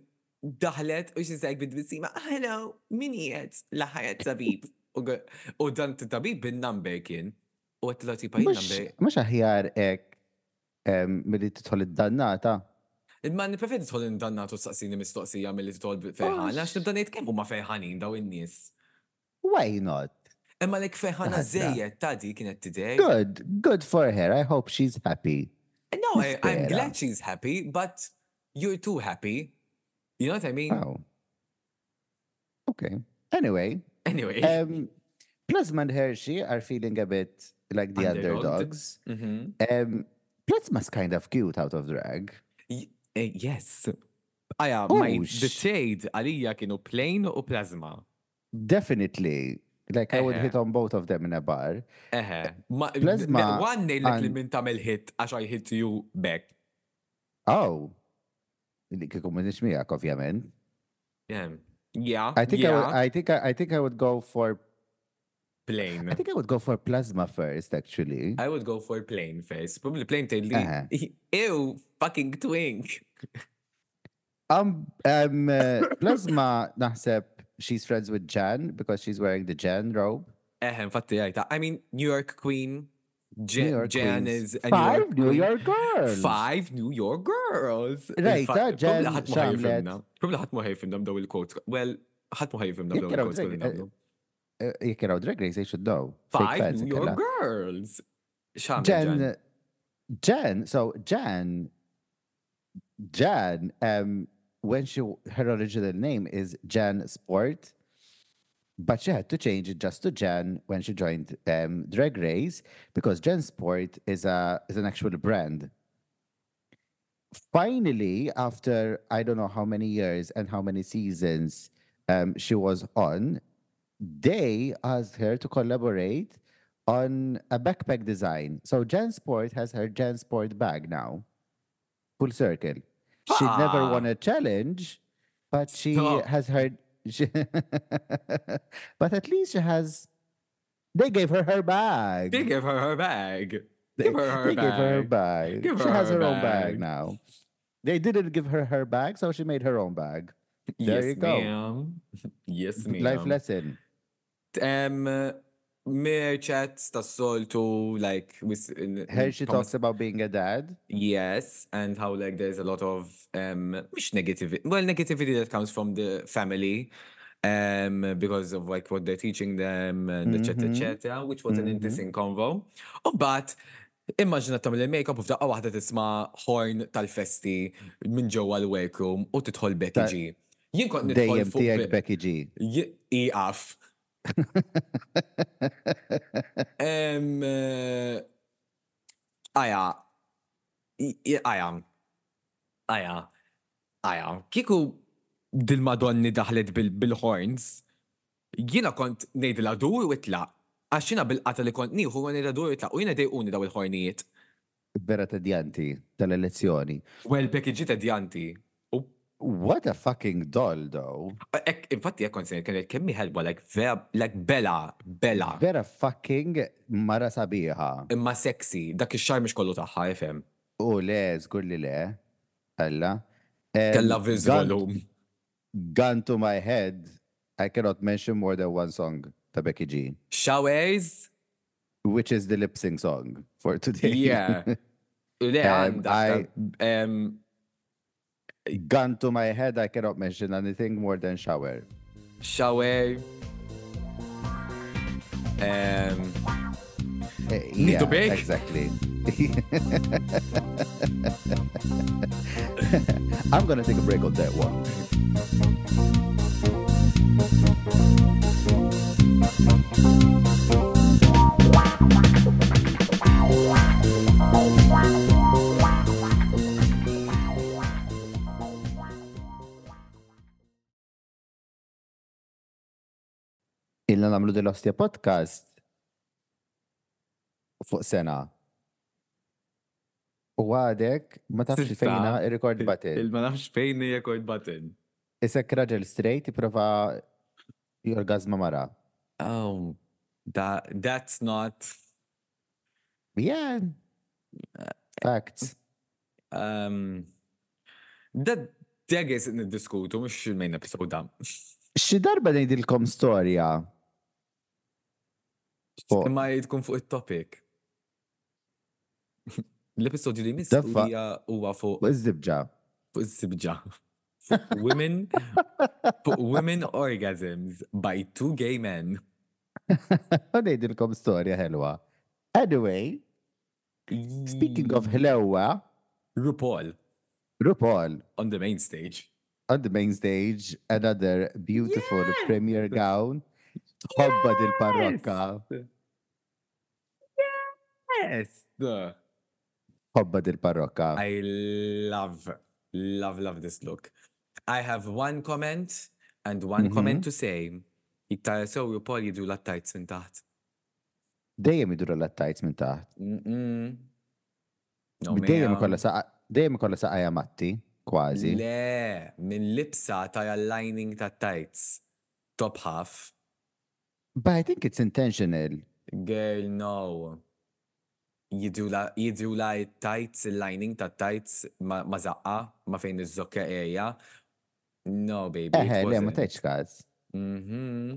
B: daħlet u xizajk bid-bissima, "Ah, hello, min jiet laħajat tabib. U għ- U dan t-tabib bin-number kien. U għet l-għati pa number
A: Mux aħjar ek mill-li titħol id-dannata.
B: Imma nipreferi tħol indannatu saqsini mistoqsija mill-li tħol fejħan,
A: Għax-
B: għax nibda ngħid kemm huma fejħanin daw in-nies.
A: Why not?
B: Imma lek fejħana
A: Għadda.
B: żejjed ta' di kienet tidej.
A: Good, good for her. I hope she's happy.
B: No, I- I'm
A: nispera.
B: glad she's happy, but you're too happy. You know what I mean?
A: Wow. Okay. Anyway,
B: Anyway.
A: um, Plasma and Hershey are feeling a bit like the
B: Underdogged.
A: underdogs.
B: Mhm.
A: Um, Plasma's kind of cute out of drag.
B: Y- eh, Yes. Aja, my
A: Ux.
B: the shade għalija kienu plain u plasma.
A: Definitely. Like I would
B: Eħe.
A: hit on both of them in a bar.
B: Eħe. Ma-
A: Plasma
B: ne- One nejlek li
A: għan-
B: minn tamel hit għax I hit you back.
A: Oh. Li kiku m'għandix miegħek, ovvjament.
B: Yeah. Yeah.
A: I think I would,
B: yeah,
A: I think I, I think I would go for I
B: plain.
A: think I would go for plasma first actually.
B: I would go for plain face. Probably plain tail
A: Eħe.
B: li. Ew, fucking twink.
A: Um, um uh, plasma naħseb she's friends with Jan because she's wearing the Jan robe.
B: Eħe, infatti għajta. I mean, New York Queen. Jan,
A: New York
B: Jan
A: Queens.
B: is a
A: five New
B: Queen.
A: York girls.
B: Five New York girls.
A: Right, ta' Jen xamlet.
B: Probably ħat muħajfimna daw il-quotes. Well, ħat muħajfimna daw
A: Jekk jaraw
B: il-quotes.
A: drag-
B: kollha nagħmlu.
A: Uh, Jekk jaraw drag race, they should know. Fake
B: Five
A: fans
B: New
A: inkella.
B: York girls. Xamlet Jen.
A: Jan, uh, Jan, so Jan, Jan, um, when she her original name is Jan Sport, but she had to change it just to Jan when she joined um, Drag Race because Jan Sport is a is an actual brand. Finally, after I don't know how many years and how many seasons um, she was on, they asked her to collaborate on a backpack design. So JanSport has her JanSport bag now. Full circle. She never won a
B: Ah.
A: challenge, but she
B: Stop.
A: has her. she- but at least she has. They gave her her bag.
B: They give her her bag.
A: They-
B: Give her her
A: they gave her her
B: bag.
A: bag.
B: Give
A: she
B: her
A: has
B: her
A: her own
B: bag.
A: bag now. They didn't give her her bag, so she made her own bag. There
B: yes,
A: you go.
B: ma'am. Yes, ma'am.
A: Life lesson.
B: Um, Merchats ta' soltu, like, with in- in
A: Here she
B: Thomas-
A: talks about being a dad.
B: Yes, and how like there's a lot of um which negativity well negativity that comes from the family um because of like what they're teaching them and etc
A: Mhm.
B: etc which was an
A: Mhm.
B: interesting convo. Oh but immaġina tagħmel il-makeup u f'daqqa waħda tisma' horn tal-festi minn ġewwa l-workroom u tidħol Becky
A: Ta-
B: G. Jien kont nidħol
A: Dejjem
B: fuq
A: tiegħek Becky G.
B: J- Iqaf. Em, eh, Aja. I- i- Aja. Aja. Aja. Kiku dil-Madonni daħlet bil- bil-horns, jiena kont nejdila dur u itlaq. Għax jiena bil-qata li kont nieħu u nejdila dur u itlaq. U jiena dejquni daw il-hornijiet.
A: Vera tedjanti tal-elezzjoni.
B: Well, Becky ġita djanti. U
A: What a fucking doll, though.
B: ek, infatti jek konsenit kienet kemmi ħelba, like, vera, like, bella, bella.
A: Vera fucking mara sabiħa.
B: Imma sexy, dak ix-xar mhix kollu tagħha, ifhem.
A: U Oh, le, zgur li le. Alla.
B: Kella visual.
A: Gun to my head. I cannot mention more than one song ta' Becky G.
B: Showers?
A: Which is the lip sync song for today.
B: Yeah. Le
A: Um,
B: għandak. um,
A: Gun to my head, I cannot mention anything more than shower.
B: Shower. Um,
A: Eh,
B: Need to
A: yeah,
B: bake?
A: Exactly. I'm gonna take a break on that one. Illa namlu dil-ostja podcast fuq sena. U għadek, ma tafx
B: Sista.
A: fejna il-record button.
B: Il-ma nafx fejn hija kod button.
A: Isek raġel straight jiprofa jorgazma mara.
B: Oh, that, that's not.
A: Yeah.
B: Uh,
A: Facts.
B: Um, that deg is niddiskutu mhux il-main episode da.
A: Xi darba ngħidilkom storja fuq
B: Imma tkun fuq it-topic. L-episodju li miss
A: Da fa-
B: hija- huwa fuq
A: fuq iż-żibġa.
B: fuq is-sibġa. Fuq Women fuq women orgasms by two gay men.
A: U ngħidilkom storja ħelwa. Anyway, speaking of ħlewwa,
B: RuPaul
A: RuPaul
B: on the main stage.
A: on the main stage, another beautiful
B: Yes!
A: premiere gown. Hobba dil-parrokka.
B: Yes. The-
A: Hobba dil-parrokka.
B: I love,
A: Mm-hmm.
B: love, love this look. I have one comment and one comment to say. uh, Jitta sew ju pol jidru l-attajt minn taħt.
A: Dejjem iduru l-attajt minn taħt.
B: Mm-mm. No,
A: Dejjem
B: mija.
A: ikolla saqa, dejjem ikolla saqajja matti, kważi.
B: Le, minn libsa ta' lining ta' tights. Top half.
A: But I think it's intentional.
B: Girl, no. Jidru la, jidru la tights, lining ta' tights ma, ma zaqqa, ma fejn iż-zokka eja. No, baby.
A: Eħe, Eh, le, ma tajċ każ.
B: Mhm.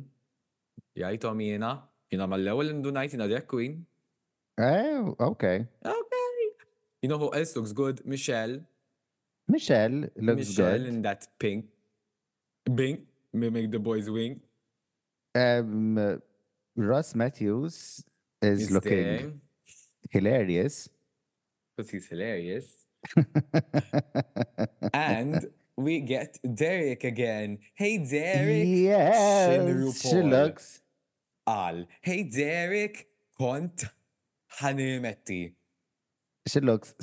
B: Jajtom jena, jena mal-ewel indunajt jena drag queen.
A: Eh, okay.
B: Okay. You know who else looks good? Michelle.
A: Michelle looks
B: Michelle
A: good.
B: in that pink. Bink. May make the boys wink.
A: Um, uh, Ross Matthews is
B: He's
A: looking
B: there,
A: hilarious.
B: 'cause he's hilarious. and we get Derek again. Hey Derek.
A: yes, she
B: RuPaul.
A: looks.
B: Al. Hey Derek. Kont. Hanimetti.
A: She looks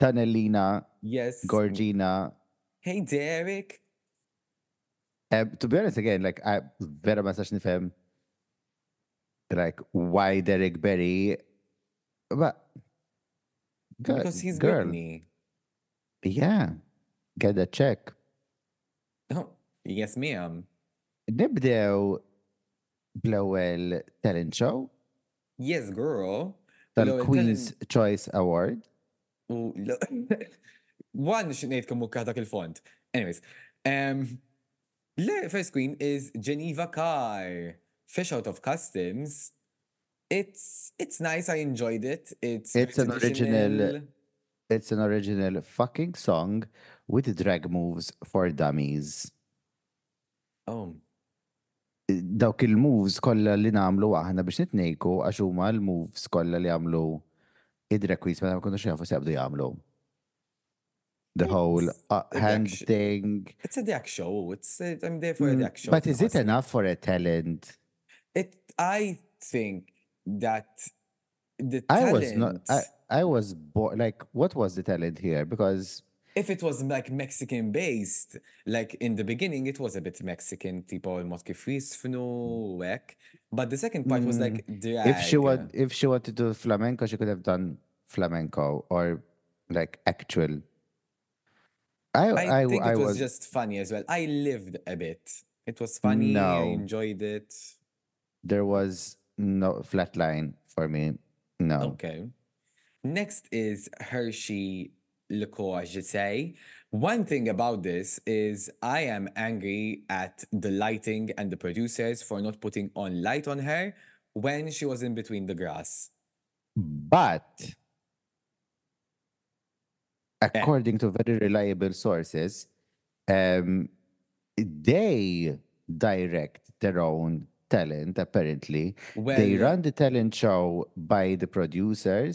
A: Stanelina,
B: Yes.
A: Gorgina.
B: Hey Derek.
A: Um, to be honest, again, like I very much nifhem, like why Derek Berry, but Girl-
B: Because he's
A: girl.
B: Whitney.
A: yeah, get a check.
B: Oh, yes, ma'am.
A: Nibdew bl-ewwel talent show
B: Yes, girl. L-ewwel
A: tal-Queen's Choice Award.
B: U l- One, xinejt kum mukkaħdak il-font. Anyways, um, le first queen is Geneva Carr, fish out of customs. It's it's nice. I enjoyed it. It's
A: It's an original-
B: traditional.
A: It's an original fucking song with drag moves for dummies. Eh,
B: Oh,
A: Dawk il-moves kollha li nagħmlu aħna biex nitnejku għax huma l-moves kollha li għamlu id-drag queens meta ma konux jafu se jabdu jagħmlu. The whole
B: It's
A: uh,
B: a
A: hand
B: reaction.
A: thing.
B: it's a drag show. It's uh, I'm there for a drag show.
A: Mm, But is it
B: honestly.
A: enough for a talent?
B: It. I think that the
A: I
B: talent.
A: was not. I, I was bored. Like, what was the talent here? Because
B: if it was like Mexican based, like in the beginning it was a bit Mexican, tipo il mod kif jisfnu, hekk. But the second part was like uh, drag.
A: Mm. if she want if she wanted to do flamenco she could have done flamenco or like actual i i i,
B: I, think it was,
A: was
B: just funny as well. I lived a bit. It was funny. I
A: No.
B: enjoyed it.
A: there was no flat line for me no
B: Okay. Next is Hershey Liqueur Jete. One thing about this is I am angry at the lighting and the producers for not putting on light on her when she was in between the grass.
A: but according to very reliable sources um they direct their own talent apparently
B: Well,
A: they run the talent show by the producers.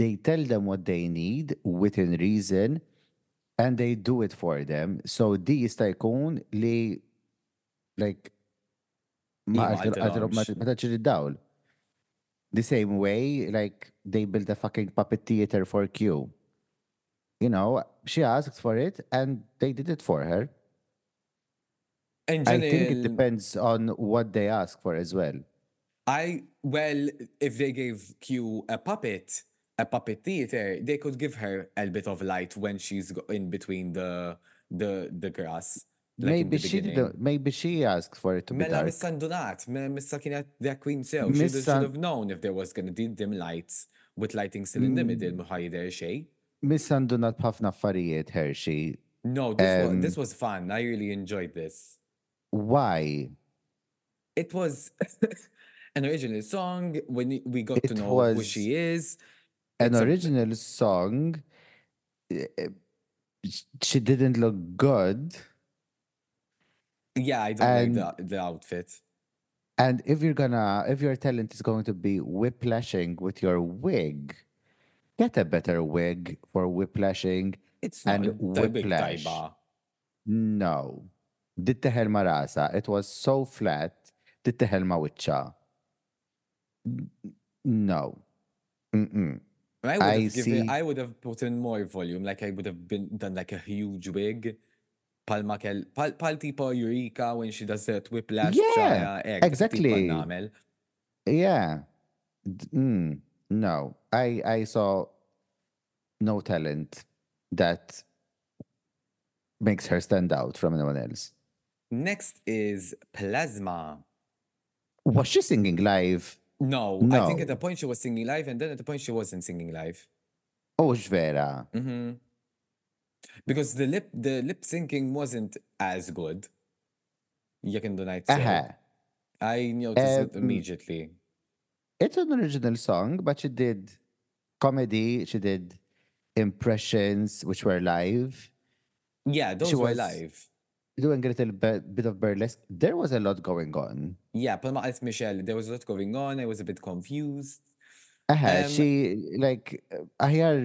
A: They tell them what they need within reason, and they do it for them. So these tycoon li like ma
B: Li ma
A: għatil- għatilhom ma
B: għatilhomx.
A: ma taċċi dawl. The same way, like they built a fucking puppet theater for Q. You know, she asked for it, and they did it for her.
B: in
A: I think it
B: general,
A: depends on what they ask for as well.
B: I well, if they gave Q a puppet, a puppet theater, they could give her a bit of light when she's go- in between the the the grass. like in
A: maybe
B: the
A: she
B: beginning.
A: didn't. Maybe she asked for it to be
B: Mela
A: dark.
B: Missa Ndunat, me- Missa kienet their queen so she should
A: Missa-
B: have known if there was gonna be dim lights with lighting still in the middle,
A: Mm.
B: muħajder xej.
A: Missandunat b'ħafna affarijiet Hershey.
B: No, this was
A: Em.
B: this was fun. I really enjoyed this.
A: Why?
B: it was an original song when y- we got to
A: It
B: know who
A: was
B: she is.
A: An
B: It's a-
A: original song. eh, eh, sh- She didn't look good.
B: yeah, I don't like
A: and-
B: the, the outfit.
A: And if you're gonna, if your talent is going to be whiplashing with your wig, get a better wig for whiplashing.
B: It's
A: and
B: not the big
A: whiplash.
B: taiba.
A: No. Ditteħel ma rasa. It was so flat. Ditteħel ma witcha. No. Mm-mm.
B: I would
A: I
B: have given,
A: see.
B: I would have put in more volume. Like I would have been done like a huge wig. palma kell, pal, pal tipo Eureka when she does that whiplash.
A: Yeah,
B: b'xara egg,
A: exactly.
B: tipo Namel.
A: Yeah. D- mm, no, I I saw no talent that makes her stand out from anyone else.
B: Next is Plasma.
A: Was she singing live?
B: No, I think
A: No.
B: at the point she was singing live, and then at the point she wasn't singing live.
A: Oh, ġvera.
B: Mhm. Because the lip the lip syncing wasn't as good. You can do night.
A: Aha.
B: I noticed it
A: Uh-huh. Um,
B: immediately.
A: It's an original song, but she did comedy. She did impressions, which were live.
B: Yeah, those were
A: was-
B: live.
A: Doing a little bit, bit of burlesque. There was a lot going on.
B: Yeah, Palma asked Michelle, there was a lot going on. I was a bit confused.
A: Aha,
B: Um,
A: she like aħjar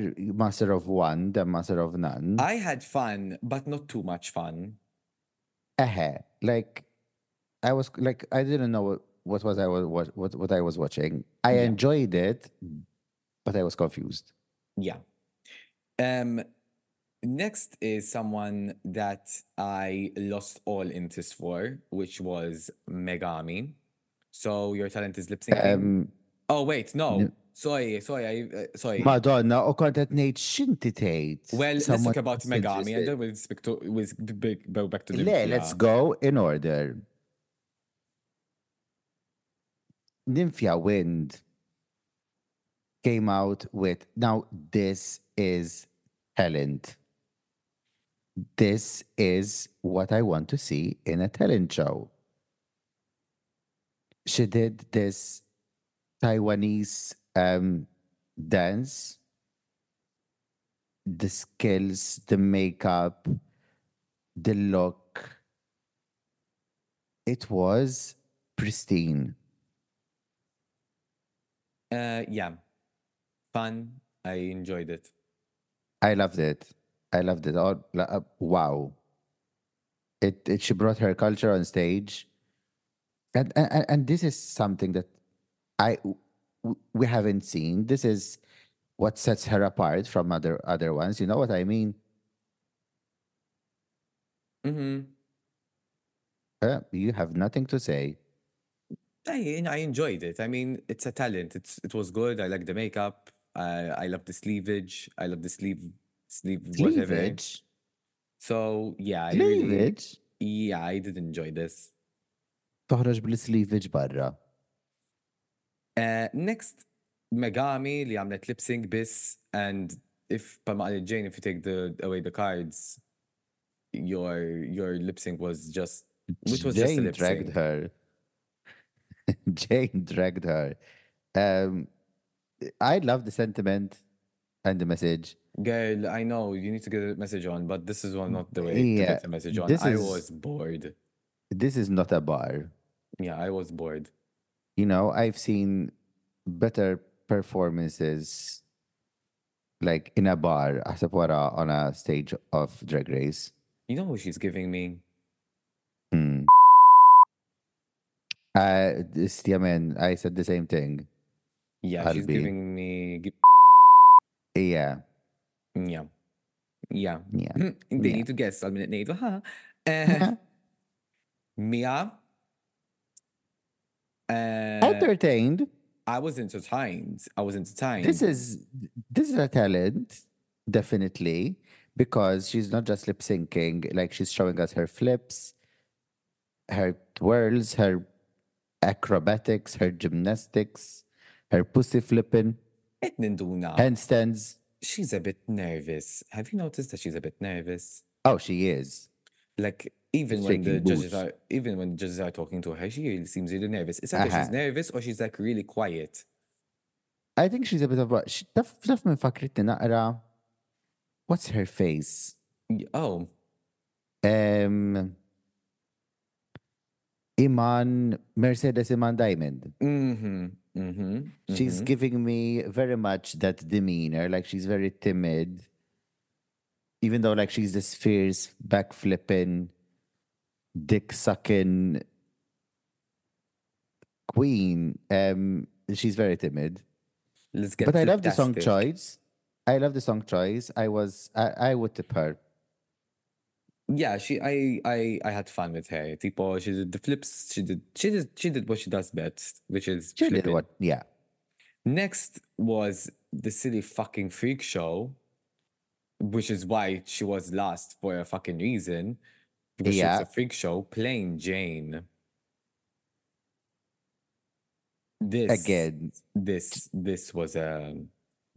A: master of one than master of none.
B: I had fun, but not too much fun.
A: Aha, like I was like I didn't know what, what was I was what, what what I was watching. I
B: Yeah.
A: enjoyed it, but I was confused.
B: Yeah. Um, next is someone that I lost all interest for, which was Megami. So your talent is lip syncing.
A: Um,
B: oh wait, no. Sorry, sorry, I, uh, sorry.
A: Madonna u kontet ngħid x'inti tgħid.
B: well, let's
A: Someone
B: talk about
A: else
B: Megami, and
A: suggested.
B: then we'll speak to we'll b- b- go back to the
A: Le, let's go in order. Nymphia Wind came out with now this is talent. This is what I want to see in a talent show. She did this Taiwanese um, dance, the skills, the makeup, the look. It was pristine.
B: Uh, yeah, fun. I enjoyed it.
A: I loved it. I loved it. Oh, la- uh, wow. It, it she brought her culture on stage, and and, and- and this is something that I w- w- we haven't seen. This is what sets her apart from other other ones. You know what I mean?
B: Mm-hmm.
A: Uh, you have nothing to say.
B: I, I enjoyed it. I mean, it's a talent. It's it was good. I like the makeup. I I love the sleevage. I love the sleeve sleeve whatever.
A: Cleavage.
B: So yeah, I really
A: Cleavage.
B: yeah I did enjoy this.
A: Toħroġ bil-sleevage barra.
B: Uh, next, Megami li għamlet lip sync bis and if Palma Ali Jane if you take the away the cards, your your lip sync was just which was just a
A: Jane
B: lip
A: dragged
B: sync.
A: her. Jane dragged her. Um, I love the sentiment and the message.
B: Girl, I know you need to get a message on, but this is one not the way to
A: Yeah,
B: get a message on.
A: this
B: I
A: is-
B: was bored.
A: This is not a bar.
B: Yeah, I was bored.
A: You know, I've seen better performances like in a bar aħseb wara on a stage of Drag Race.
B: You know who she's giving me?
A: Hmm. Uh, this, yeah, man, I said the same thing.
B: Yeah, she's
A: Qalbi.
B: giving me. gi-
A: Yeah,
B: Yeah. Yeah.
A: yeah.
B: Hmm, They
A: Yeah. Uh-huh.
B: need to guess. I'll minute nejdu, ha? Eh, Mia. Uh,
A: Entertained.
B: I was entertained. I was entertained.
A: this is this is a talent definitely because she's not just lip syncing like she's showing us her flips her twirls her acrobatics her gymnastics her pussy flipping
B: Qed ninduna.
A: handstands
B: She's a bit nervous. Have you noticed that she's a bit nervous?
A: oh she is
B: Like even when the
A: Shaking
B: judges
A: boots.
B: are even when the judges are talking to her, she really seems really nervous. It's either she's
A: Aha.
B: nervous or she's like really quiet.
A: i think she's a bit of a she- taf taf minn fakritni naqra what's her face
B: Y- Oh,
A: um Iman Mercedes Iman Diamond
B: mm-hmm. Mm-hmm.
A: She's giving me very much that demeanor. Like she's very timid. Even though like she's this fierce, back flipping, dick sucking queen. Um, she's very timid.
B: Let's get
A: but I love the song
B: fliptastic.
A: choice. I love the song choice. I was I, I would tip her.
B: yeah, she I I I had fun with her. Tipo, she did the flips. She did she did she did what she does best, which is
A: She did
B: flipping.
A: what? Yeah.
B: Next was the silly fucking freak show, which is why she was last for a fucking reason. Because she
A: Yeah.
B: was a freak show playing Jane. This
A: Again,
B: This this was a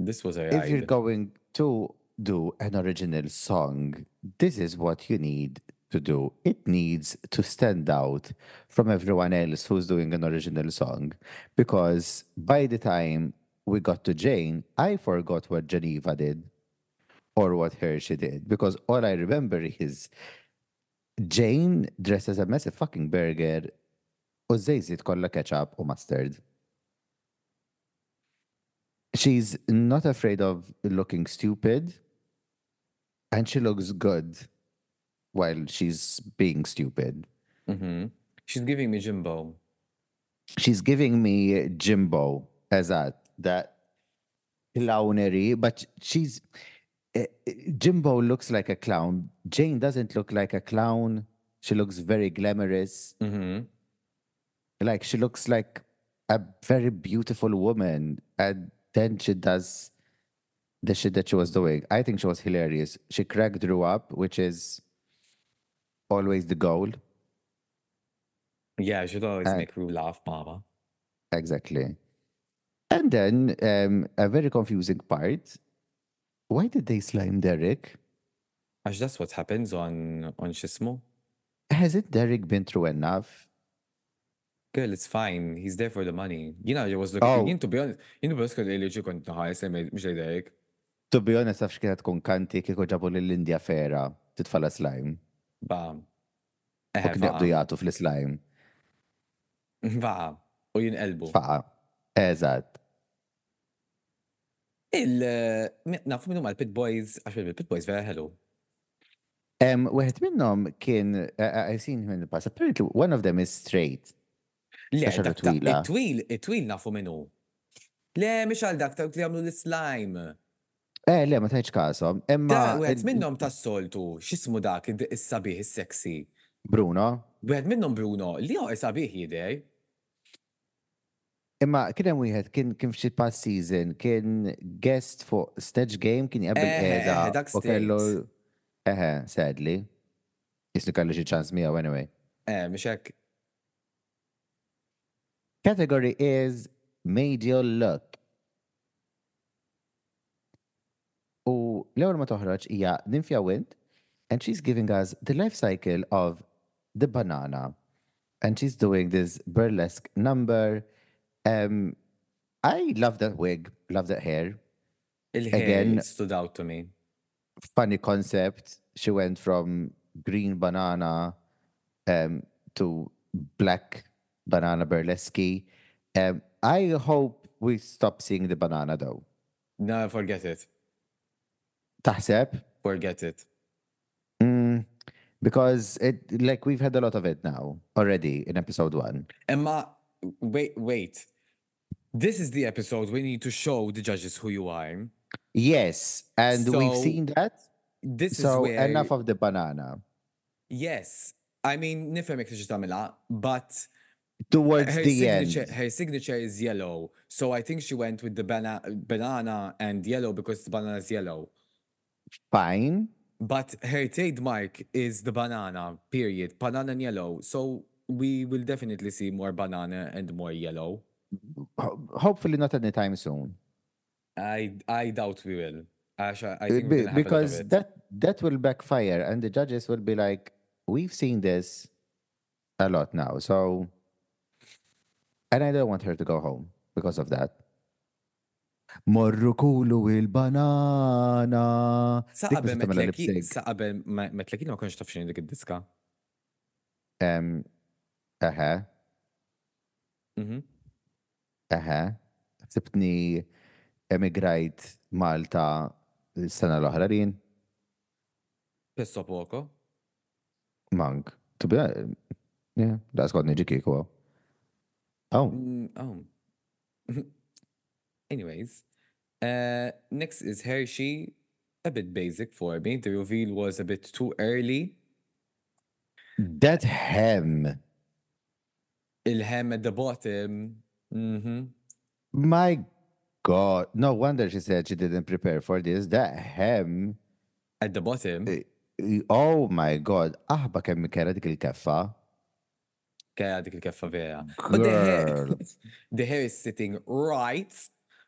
B: this was a
A: if you're
B: ride.
A: going to do an original song, this is what you need to do. It needs to stand out from everyone else who's doing an original song. Because by the time we got to Jane, I forgot what Geneva did or what Hershey did. Because all I remember is Jane dressed as a massive fucking burger. U zejzit kolla ketchup u mustard. She's not afraid of looking stupid and she looks good while she's being stupid.
B: Mhm. She's giving me Jimbo.
A: She's giving me Jimbo as that, that clownery, but she's. eh, eh, Jimbo looks like a clown. Jane doesn't look like a clown. She looks very glamorous.
B: Mhm.
A: like she looks like a very beautiful woman and then she does the shit that she was doing i think she was hilarious she cracked drew up which is always the goal
B: Yeah, she'd always
A: Uh,
B: make Rue laugh, Mama.
A: exactly and then um, a very confusing part why did they slime derek
B: Actually, that's what happens on on Shismo.
A: hasn't derek been through enough
B: Girl, it's fine. He's there for the money. You know, I was looking.
A: Oh.
B: You need to be honest. You need to be honest. Kelly, you couldn't know how I said, "Mate, Michelle Derek.
A: to be honest għax kienet tkun kanti kieku ġabu lill-Indja fera titfala slime
B: Bam.
A: u kien jaqdu jagħtu fl-slime
B: Bam. U jinqelbu.
A: faqa eżatt
B: Il mi- nafu minnu mal Pit Boys, għax il-Pit Boys vera ħelu.
A: Um, Wieħed minnhom kien uh, I've seen him in the past. Apparently, one of them is straight.
B: Le,
A: Għax għadu
B: dak ta-
A: twila.
B: it-twil, it-twil nafu minnu. Le, miex għal dak ta' li għamlu l-slime.
A: Eh, le, ma tajċ kasom.
B: Da,
A: Emma
B: u
A: il-
B: għed minnom ta' soltu, xismu dak, id- is-sabiħ, is-seksi.
A: Bruno.
B: U għed minnom Bruno, li għu is-sabiħ jidej.
A: Imma kien hemm wieħed kien kien f'xi past season kien guest fuq stage game kien qabel
B: Eħe, eħe,
A: qiegħda
B: dak
A: u kellu
B: straight.
A: eħe, sadly. Jisni kellu xi ċans miegħu anyway.
B: Eh, miex hekk.
A: Category is medial look. U l-ewwel ma toħroġ hija Nymphia Wind and she's giving us the life cycle of the banana. And she's doing this burlesque number. Um, I love that wig, love that hair. Again.
B: Il-ħin stood out to me.
A: Funny concept. She went from green banana um, to black banana burlesque. Um, I hope we stop seeing the banana though.
B: No, forget it.
A: Taħseb?
B: Forget it.
A: Mm, because it like we've had a lot of it now already in episode one.
B: Emma, wait, wait. This is the episode we need to show the judges who you are.
A: Yes, and we've
B: So,
A: seen that.
B: This
A: So
B: is where
A: enough of the banana.
B: Yes. I mean, nifhem jekk tixi tagħmilha, but
A: Towards
B: her
A: the
B: signature,
A: end.
B: her signature is yellow. So I think she went with the bana- banana and yellow because the banana is yellow.
A: Fine.
B: But her trademark is the banana, period. Banana and yellow. So we will definitely see more banana and more yellow.
A: Ho- hopefully not anytime soon.
B: I I doubt we will. Ash, I I
A: Uh,
B: think we're
A: be-
B: gonna have a
A: because
B: lot of it.
A: that that will backfire and the judges will be like we've seen this a lot now so and i don't want her to go home because of that Morru kulu il-banana.
B: Sa
A: Dik
B: qabel
A: meta
B: ma
A: tagħmilha lip
B: tleki-
A: sync.
B: sa qabel ma ma tleki ma konx tafxin dik id-diska.
A: Um, uh-huh, aha,
B: Mhm.
A: aha. Sibtni emigrajt Malta eh, s-sena l-oħra rin.
B: Pesso poco.
A: Mank. To be honest, yeah, that's got niġi kiku. Oh.
B: Mm, Oh. Anyways, uh, next is Hershey. A bit basic for me. The reveal was a bit too early.
A: That hem.
B: Il-hem at the bottom. Mhm.
A: My God. No wonder she said she didn't prepare for this. That hem.
B: At the bottom.
A: Eh. Oh my God. Aħba kemm kera dik il-keffa.
B: Kera dik il-keffa vera. But the hair,
A: Girl.
B: the hair is sitting right,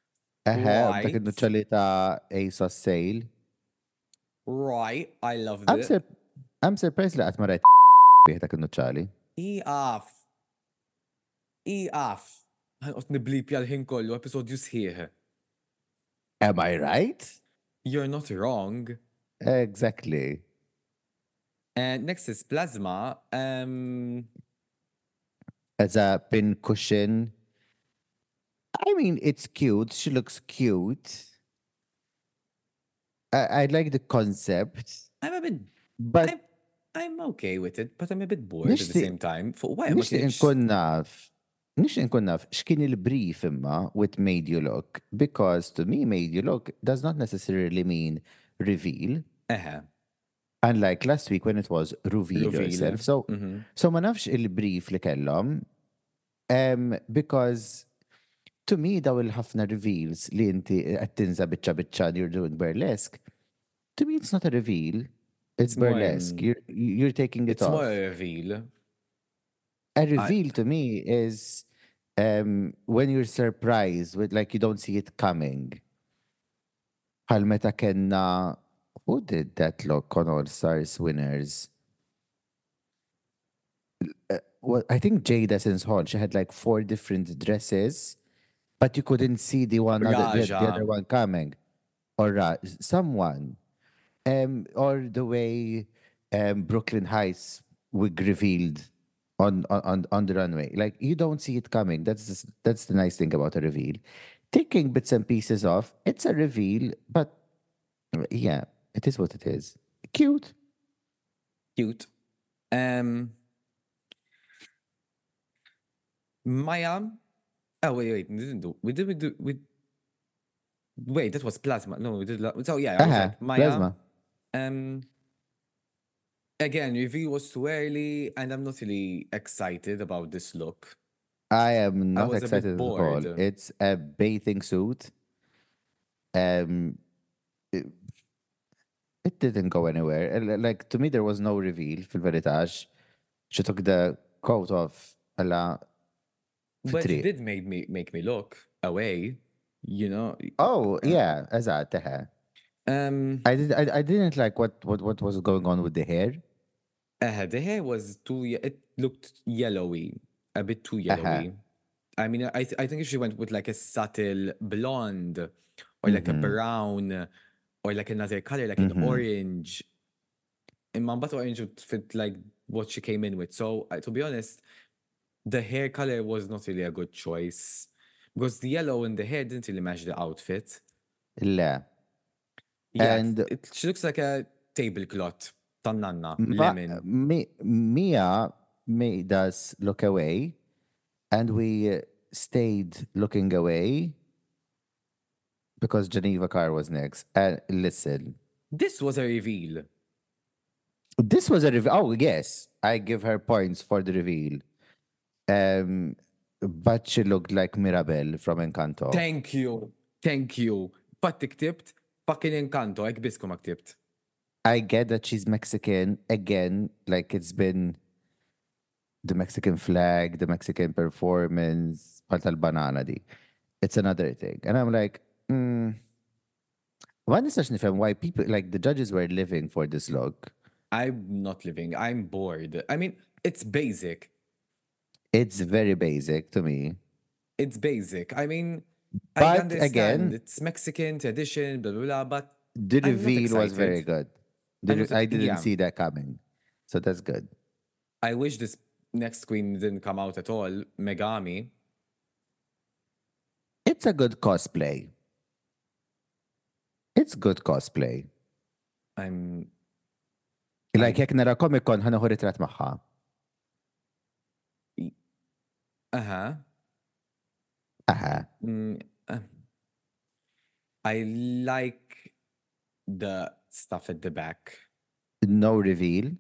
A: Eħe, dak
B: Right.
A: il-nuċċali ta' Ace of eh, Sale.
B: right. I love
A: I'm,
B: it.
A: sur- I'm surprised li għatmarajt bih dak il-nuċċali.
B: Iqaf. Iqaf. Għanqot niblipja l-ħin kollu, episodju sħiħ.
A: Am I right?
B: You're not wrong.
A: Exactly.
B: And next is plasma. Um,
A: as a pin cushion. I mean, it's cute. She looks cute. I, I like the concept,
B: I'm a bit,
A: but
B: I'm, I'm okay with it, but I'm a bit bored at the
A: Nixtieq-
B: same time. Fuq why ma
A: nix
B: kienx-
A: nkun naf. Nix nkun naf x'kien il-brief imma with made you look because to me made you look does not necessarily mean reveal
B: Eħe,
A: unlike last week when it was reveal,
B: Reveal,
A: yourself. So
B: mhm.
A: So ma nafx il-brief li kellhom um, because to me daw il-ħafna reveals li inti qed tinza biċċa biċċa li you're doing burlesque. To me it's not a reveal. It's,
B: It's more,
A: burlesque.
B: um,
A: You're you're taking it
B: It's
A: off.
B: more a reveal.
A: a reveal to me is um, when you're surprised with like you don't see it coming. Bħal meta kenna who did that look on All Stars winners? Uh, well, I think Jada since Hall, she had like four different dresses, but you couldn't see the one other, the, the
B: Raja.
A: other one coming. Or Ra- someone. Um, or the way um, Brooklyn Heights were revealed on, on- on on the runway. Like you don't see it coming. That's just, that's the nice thing about a reveal. Taking bits and pieces off, it's a reveal, but yeah, it is what it is. Cute.
B: Cute. Um, Maya. Oh wait, wait, we didn't do. We did. We do. We. Wait, that was plasma. No, we did. la- So yeah, I was
A: Aha,
B: right. Maya.
A: Uh-huh, plasma.
B: Um, again, review was too early, and I'm not really excited about this look.
A: I am not
B: was a bit
A: excited at all.
B: bored.
A: It's a bathing suit. Um, it, it didn't go anywhere. And, uh, Like to me, there was no reveal. Fil veritage, she took the coat off. Alla.
B: But
A: Fitri.
B: it did make me make me look away. You know.
A: Oh yeah, eżatt, eħe.
B: Um,
A: I did. I, I didn't like what, what what was going on with the hair.
B: uh, the hair was too. ye- It looked yellowy, a bit too
A: Uh-huh.
B: yellowy. I mean, I th- I think if she went with like a subtle blonde, or like a
A: Mhm.
B: brown, or like another color, like an
A: Mhm.
B: orange. In Mambato orange would fit like what she came in with. So uh, to be honest, the hair color was not really a good choice because the yellow in the hair didn't really match the outfit.
A: Le.
B: Yeah,
A: And-
B: it, it- she looks like a tablecloth. Tannanna,
A: Ma-
B: lemon.
A: Mi, uh, Mia made us look away, and we uh, stayed looking away because Geneva Carr was next. And listen,
B: This was a reveal.
A: this was a reveal. Oh yes, I give her points for the reveal. Um, but she looked like Mirabelle from Encanto.
B: Thank you. Thank you. Fatti ktibt, fucking inkanto, ek bisku ma ktibt.
A: I get that she's Mexican again, like it's been the Mexican flag, the Mexican performance, pal banana di. It's another thing. And I'm like, mm. Why nistax nifhem why people like the judges were living for this look.
B: I'm not living. I'm bored. I mean, it's basic.
A: It's very basic to me.
B: It's basic. I mean, I
A: But
B: understand
A: again-
B: it's Mexican tradition, blah, blah, blah, but
A: The
B: I'm not
A: reveal was very
B: excited.
A: good. The
B: I'm
A: re-
B: not-
A: I didn't
B: yeah.
A: see that coming. So that's good.
B: I wish this next queen didn't come out at all. Megami.
A: It's a good cosplay. It's good cosplay.
B: I'm
A: Like jekk nara Comic Con ħanaħu ritrat magħha.
B: uh-huh.
A: Aha.
B: Mm, uh, I like the stuff at the back.
A: no reveal.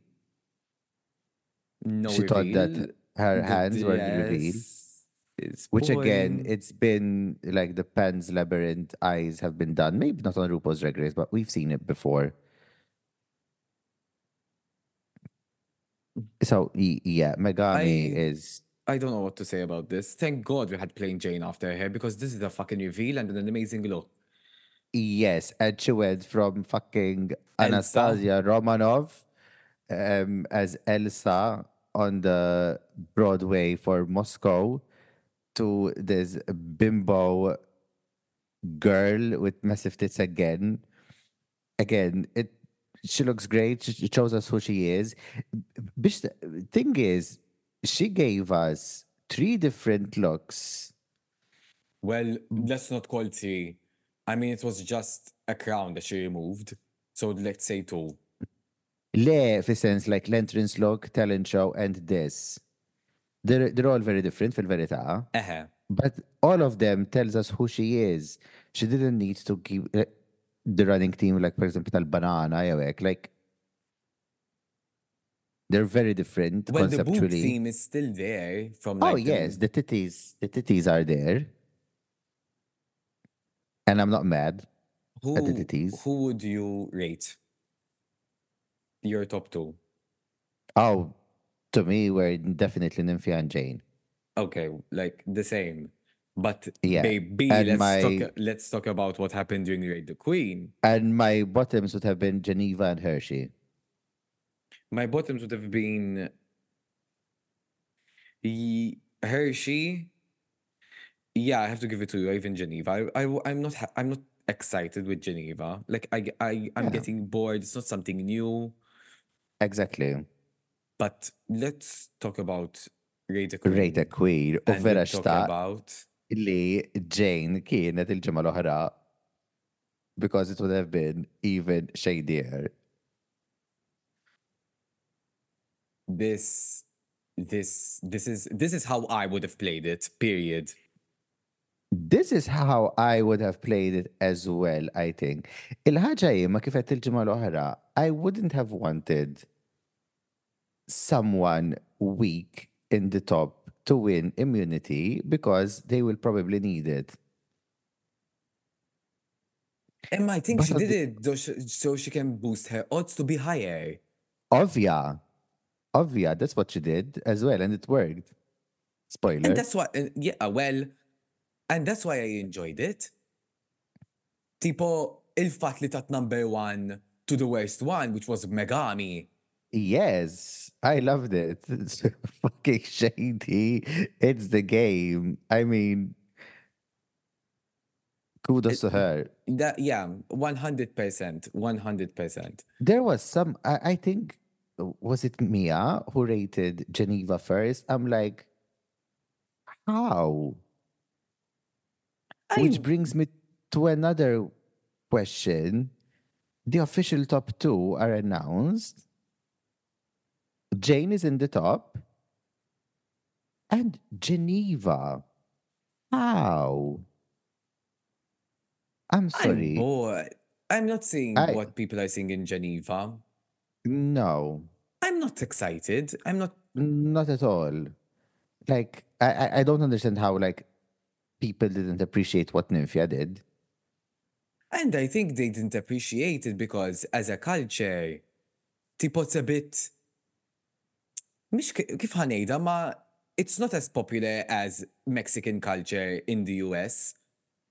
B: No
A: She thought
B: reveal.
A: that her
B: The
A: hands were revealed.
B: dress is
A: Which again,
B: pulling.
A: it's been like the Pan's Labyrinth eyes have been done. Maybe not on RuPaul's Drag Race, but we've seen it before. So y- yeah, Megami
B: I-
A: is
B: I don't know what to say about this. Thank God we had Plain Jane after her because this is a fucking reveal and an amazing look.
A: yes, and she went from fucking
B: Elsa.
A: Anastasia Romanov um, as Elsa on the Broadway for Moscow to this bimbo girl with massive tits again. Again, it she looks great. She she shows us who she is. Bish, the thing is, she gave us three different looks.
B: Well, let's not call it three. I mean, it was just a crown that she removed. So let's say two.
A: Le, for sense, like l'entrance look, talent show, and this. They're, they're all very different, fil verità.
B: Eh,
A: But all of them tells us who she is. She didn't need to keep uh, the running team, like for example, tal banana, jawek, like they're very different
B: Well, the boob
A: conceptually.
B: theme is still there from like
A: oh
B: the-
A: yes, the titties, the titties are there, and I'm not mad.
B: who,
A: identities.
B: Who would you rate? Your top two.
A: Oh, to me, we're definitely Nymphia and Jane.
B: Okay, like the same. But
A: Yeah,
B: baby,
A: and
B: let's
A: my-
B: talk let's talk about what happened during Raid the Queen.
A: And my bottoms would have been Geneva and Hershey.
B: My bottoms would have been Ye- Hershey. Yeah, I have to give it to you. Even Geneva, I, I, am not, ha- I'm not excited with Geneva. Like I, I, I'm
A: Yeah.
B: getting bored. It's not something new.
A: Exactly.
B: But let's talk about Raider Queen.
A: Great a queer. U
B: Mm. and
A: vera
B: let's talk
A: xtaq
B: about
A: li Jane kienet il-ġimgħa l-oħra because it would have been even shadier.
B: this, this, this is this is how I would have played it. Period.
A: This is how I would have played it as well, I think. Il-ħaġa hi ma kif qed il-ġimgħa l-oħra, I wouldn't have wanted someone weak in the top to win immunity because they will probably need it.
B: And I think
A: But
B: she
A: at
B: did
A: the-
B: it so she, so she can boost her odds to be higher.
A: Ovvia. Ovvia, that's what she did as well, and it worked. Spoiler.
B: And that's why, and yeah, uh, well, and that's why I enjoyed it. Tipo, il-fat li tat number one to the worst one, which was Megami.
A: Yes, I loved it. It's fucking shady. It's the game. I mean, kudos to her.
B: That, yeah, 100%, 100%.
A: There was some, I, I think, uh, was it Mia who rated Geneva first? I'm like, how? Which
B: I-
A: brings me to another question. The official top two are announced. Jane is in the top. And Geneva. How? I'm
B: I'm
A: sorry.
B: bored. I'm not seeing
A: I-
B: what people are seeing in Geneva.
A: No,
B: I'm not excited. I'm not.
A: not at all. Like, I, I, I don't understand how, like, people didn't appreciate what Nymphia did.
B: And I think they didn't appreciate it because as a culture, tipo it's a bit مش ki- kif ħanejda ma it's not as popular as Mexican culture in the US.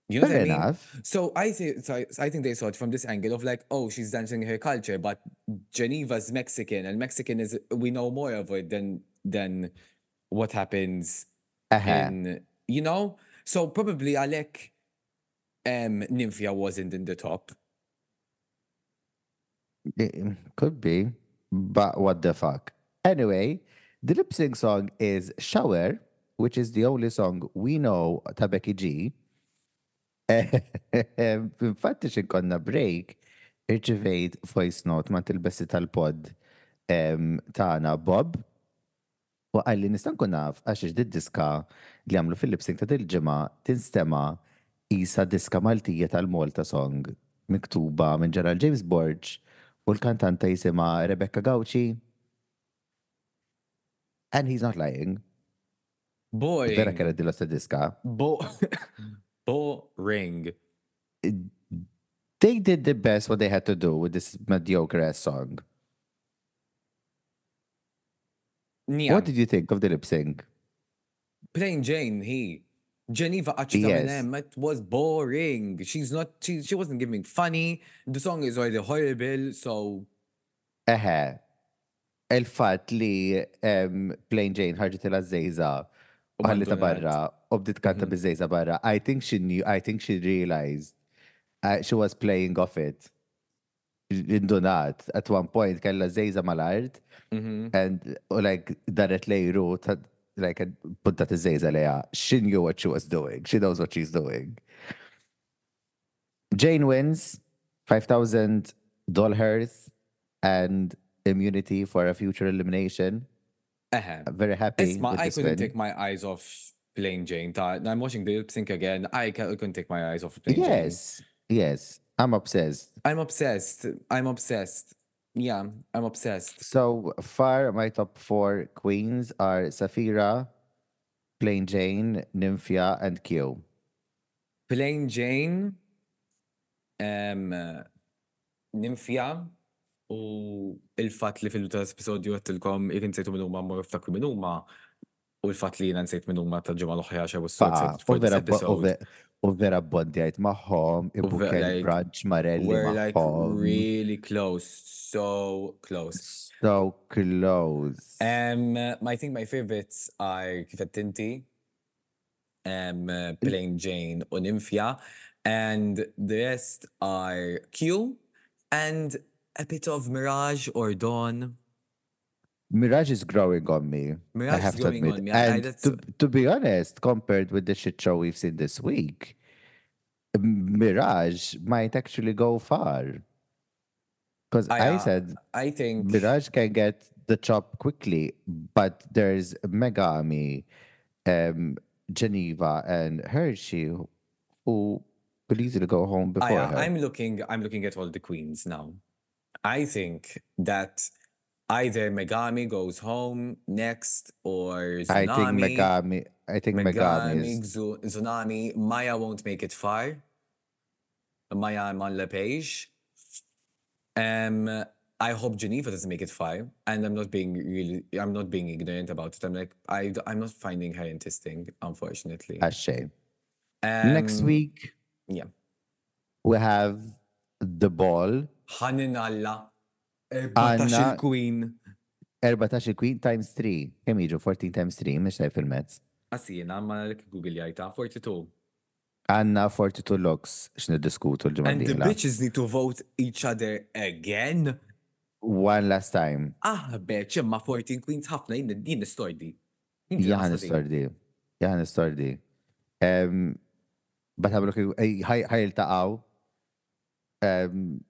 B: You know
A: Fair
B: what I mean?
A: enough.
B: So I think so I, so I think they saw it from this angle of like, oh, she's dancing her culture, but Geneva's Mexican, and Mexican is we know more of it than than what happens
A: Aha.
B: in you know. So probably Alec, um, Nymphia wasn't in the top.
A: It um, could be, but what the fuck? Anyway, the lip sync song is Shower, which is the only song we know ta' Becky G. Infatti xin konna break, irċivejt voice note ma' tilbessi tal-pod em, um, tana Bob. U għalli nistan kun naf għax ix diska li għamlu fil-lip sync ta' dil-ġimma tinstema isa diska Maltija tal-Malta song miktuba minn ġeral James Borge u l-kantanta jisima Rebecca Gauci. And he's not lying. Vera
B: Boring.
A: kera dillo sadiska.
B: Bo- boring.
A: They did the best what they had to do with this mediocre ass song.
B: Nija,
A: What did you think of the lip sync?
B: plain Jane, he. Geneva Achita
A: Yes.
B: yes. it was boring. She's not, she, she wasn't giving funny. The song is already horrible, so
A: Eħe, il-fat li em, Plain Jane ħarġet il żejza u
B: U
A: ħallita
B: mandunet.
A: barra u bdiet kanta biż-żejza barra. I think she knew, I think she realized uh, she was playing off it. Indunat, at one point kella żejza mal-art Mm-hmm.
B: mhm.
A: and u like daret lejru ta' like had puntat iż-żejza leja. She knew what she was doing. She knows what she's doing. Jane wins 5,000 dollars and immunity for a future elimination.
B: eħe.
A: I'm very happy.
B: Isma,
A: with
B: I
A: this
B: couldn't
A: win.
B: take uh-huh. my eyes off Plain Jane. Ta, I'm watching the lip sync again. I ca- couldn't take my eyes off Plain Jane.
A: Yes, yes, I'm obsessed.
B: I'm obsessed. I'm obsessed. Yeah, I'm obsessed.
A: So far, my top four queens are Safira, Plain Jane, Nymphia, and Q.
B: Plain Jane, um, uh, Nymphia, u il-fat li fil-tas episodju għattilkom ikin sejtu minn huma mmur ftakru minn huma u l-fat li jina nsejt minn huma ta' ġimgħa l-oħra xew
A: Pa,
B: so excited
A: u
B: for this
A: vera bo- u
B: episode.
A: ve- u vera bondjajt maħom, ibukel
B: like,
A: brunch e marelli
B: We're like
A: maħom.
B: really close, so close.
A: So close.
B: Um, uh, I think my favorites are Kifatinti, um, uh,
A: Mm.
B: Plain Jane, Onymphia, and the rest are Q and a bit of Mirage or Dawn.
A: Mirage is growing on me.
B: Mirage
A: I
B: is
A: have to
B: growing
A: admit.
B: on me. I- I-
A: And
B: that's-
A: to, to be honest, compared with the shit show we've seen this week, M- Mirage might actually go far. Because
B: I,
A: I,
B: uh,
A: said
B: I think
A: Mirage can get the chop quickly, but there's Megami, um, Geneva, and Hershey who- who could easily go home before
B: I, uh,
A: her.
B: I'm looking. I'm looking at all the queens now. I think that either Megami goes home next, or
A: I think
B: Tsunami.
A: Megami. I think Megami
B: Megami,
A: is
B: Xu- Tsunami, Maya won't make it far. Maya I'm on LePage. Um, I hope Geneva doesn't make it far. And I'm not being really, I'm not being ignorant about it. I'm like, I, d- I'm not finding her interesting, unfortunately.
A: a shame. Next
B: Um,
A: week,
B: yeah.
A: we have the ball.
B: Hanin Alla.
A: Anna-
B: Anna. eh, Queen.
A: 14 queen times 3. Kemm jiġu 14 times 3, mhux tajb fil-mezz.
B: Asina, Ah, ma l Google jajta, 42.
A: Għanna 42 locks x'niddiskutu l-ġimgħa
B: And the
A: d-dieħla.
B: bitches need to vote each other again?
A: One last time.
B: Ah, bitch, imma 14 queens ħafna jinn din istordi.
A: Jaħan istordi. Jaħan istordi. Um, but għamlu kif ħajltaqaw Um,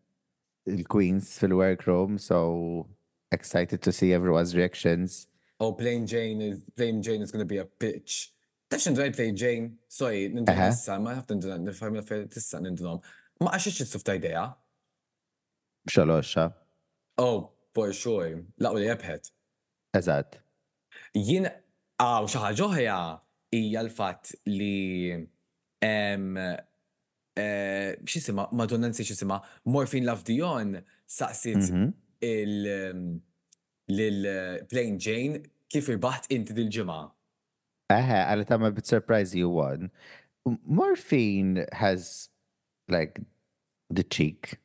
A: il-queens fil-workroom, so excited to see everyone's reactions.
B: Oh, Plain Jane is Plain Jane is gonna be a bitch. Tax ndrej Plain Jane, sorry, nindu
A: Eħe.
B: nissa, ma ħafna nindu nifhem fejn tista' nindu Ma għax xi ta' idea.
A: Xoloxa.
B: Oh, for sure. Laqgħu li jebħed.
A: Eżatt.
B: Jien għaw xi ħaġa oħra hija l-fatt li em, eh, x'isima, Madonna nsi x'isima, Morphine Love Dion saqsit
A: Mhm.
B: il um, lil uh, Plain Jane kif irbaħt inti dil-ġimgħa.
A: Eħe, għalli tamma bit surprise you won. M- Morphine has like the cheek.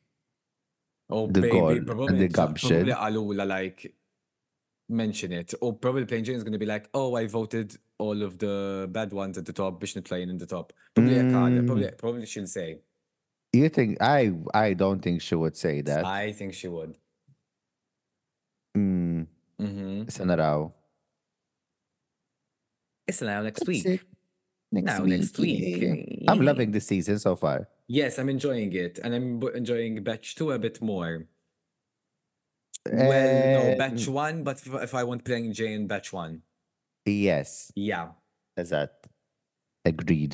B: Oh,
A: The goal
B: baby,
A: and
B: probably
A: the
B: it's not-
A: gumption.
B: Probably Alula like mention it. Or probably Plain Jane is going to be like, oh, I voted all of the bad ones at the top, Bishnit playing in the top. Probably I
A: Mm.
B: can't. Probably, probably she'll say.
A: You think I I don't think she would say that.
B: I think she would.
A: Mm,
B: Mm-hmm.
A: Sanaraw.
B: It's now next
A: That's
B: week.
A: it.
B: Now next week.
A: yeah, yeah. I'm loving this season so far.
B: Yes, I'm enjoying it. And I'm bo- enjoying batch two a bit more. Well, no, batch
A: Um,
B: one, but if, if I want Plain Jane, batch one.
A: Yes,
B: Yeah.
A: eżatt. Agreed.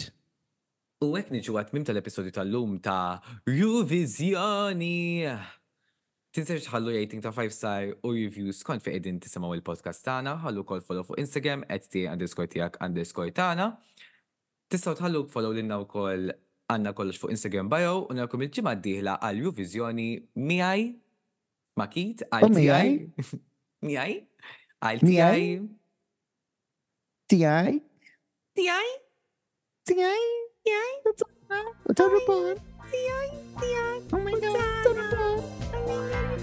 B: U għek nġu għatmim tal-episodju tal-lum ta' Juvizjoni. Tinsirx ħallu rating ta' 5 star u reviews kont fi edin tisimaw il-podcast tana, ħallu kol follow fuq Instagram, at ti underscore tijak underscore tana. Tistaw tħallu follow l-inna u kol għanna kollox fuq Instagram bio u narkom il-ġimma diħla għal Juvizjoni miħaj, makit,
A: U
B: għal
A: miegħi?
B: tiegħi. miħaj, għal
A: Miegħi?
B: tijaj,
A: Tijaj?
B: tijaj,
A: Tijaj?
B: tijaj,
A: U
B: Oh
A: tarrubon?
B: tijaj, tijaj.
A: Oh my god, tarrubon!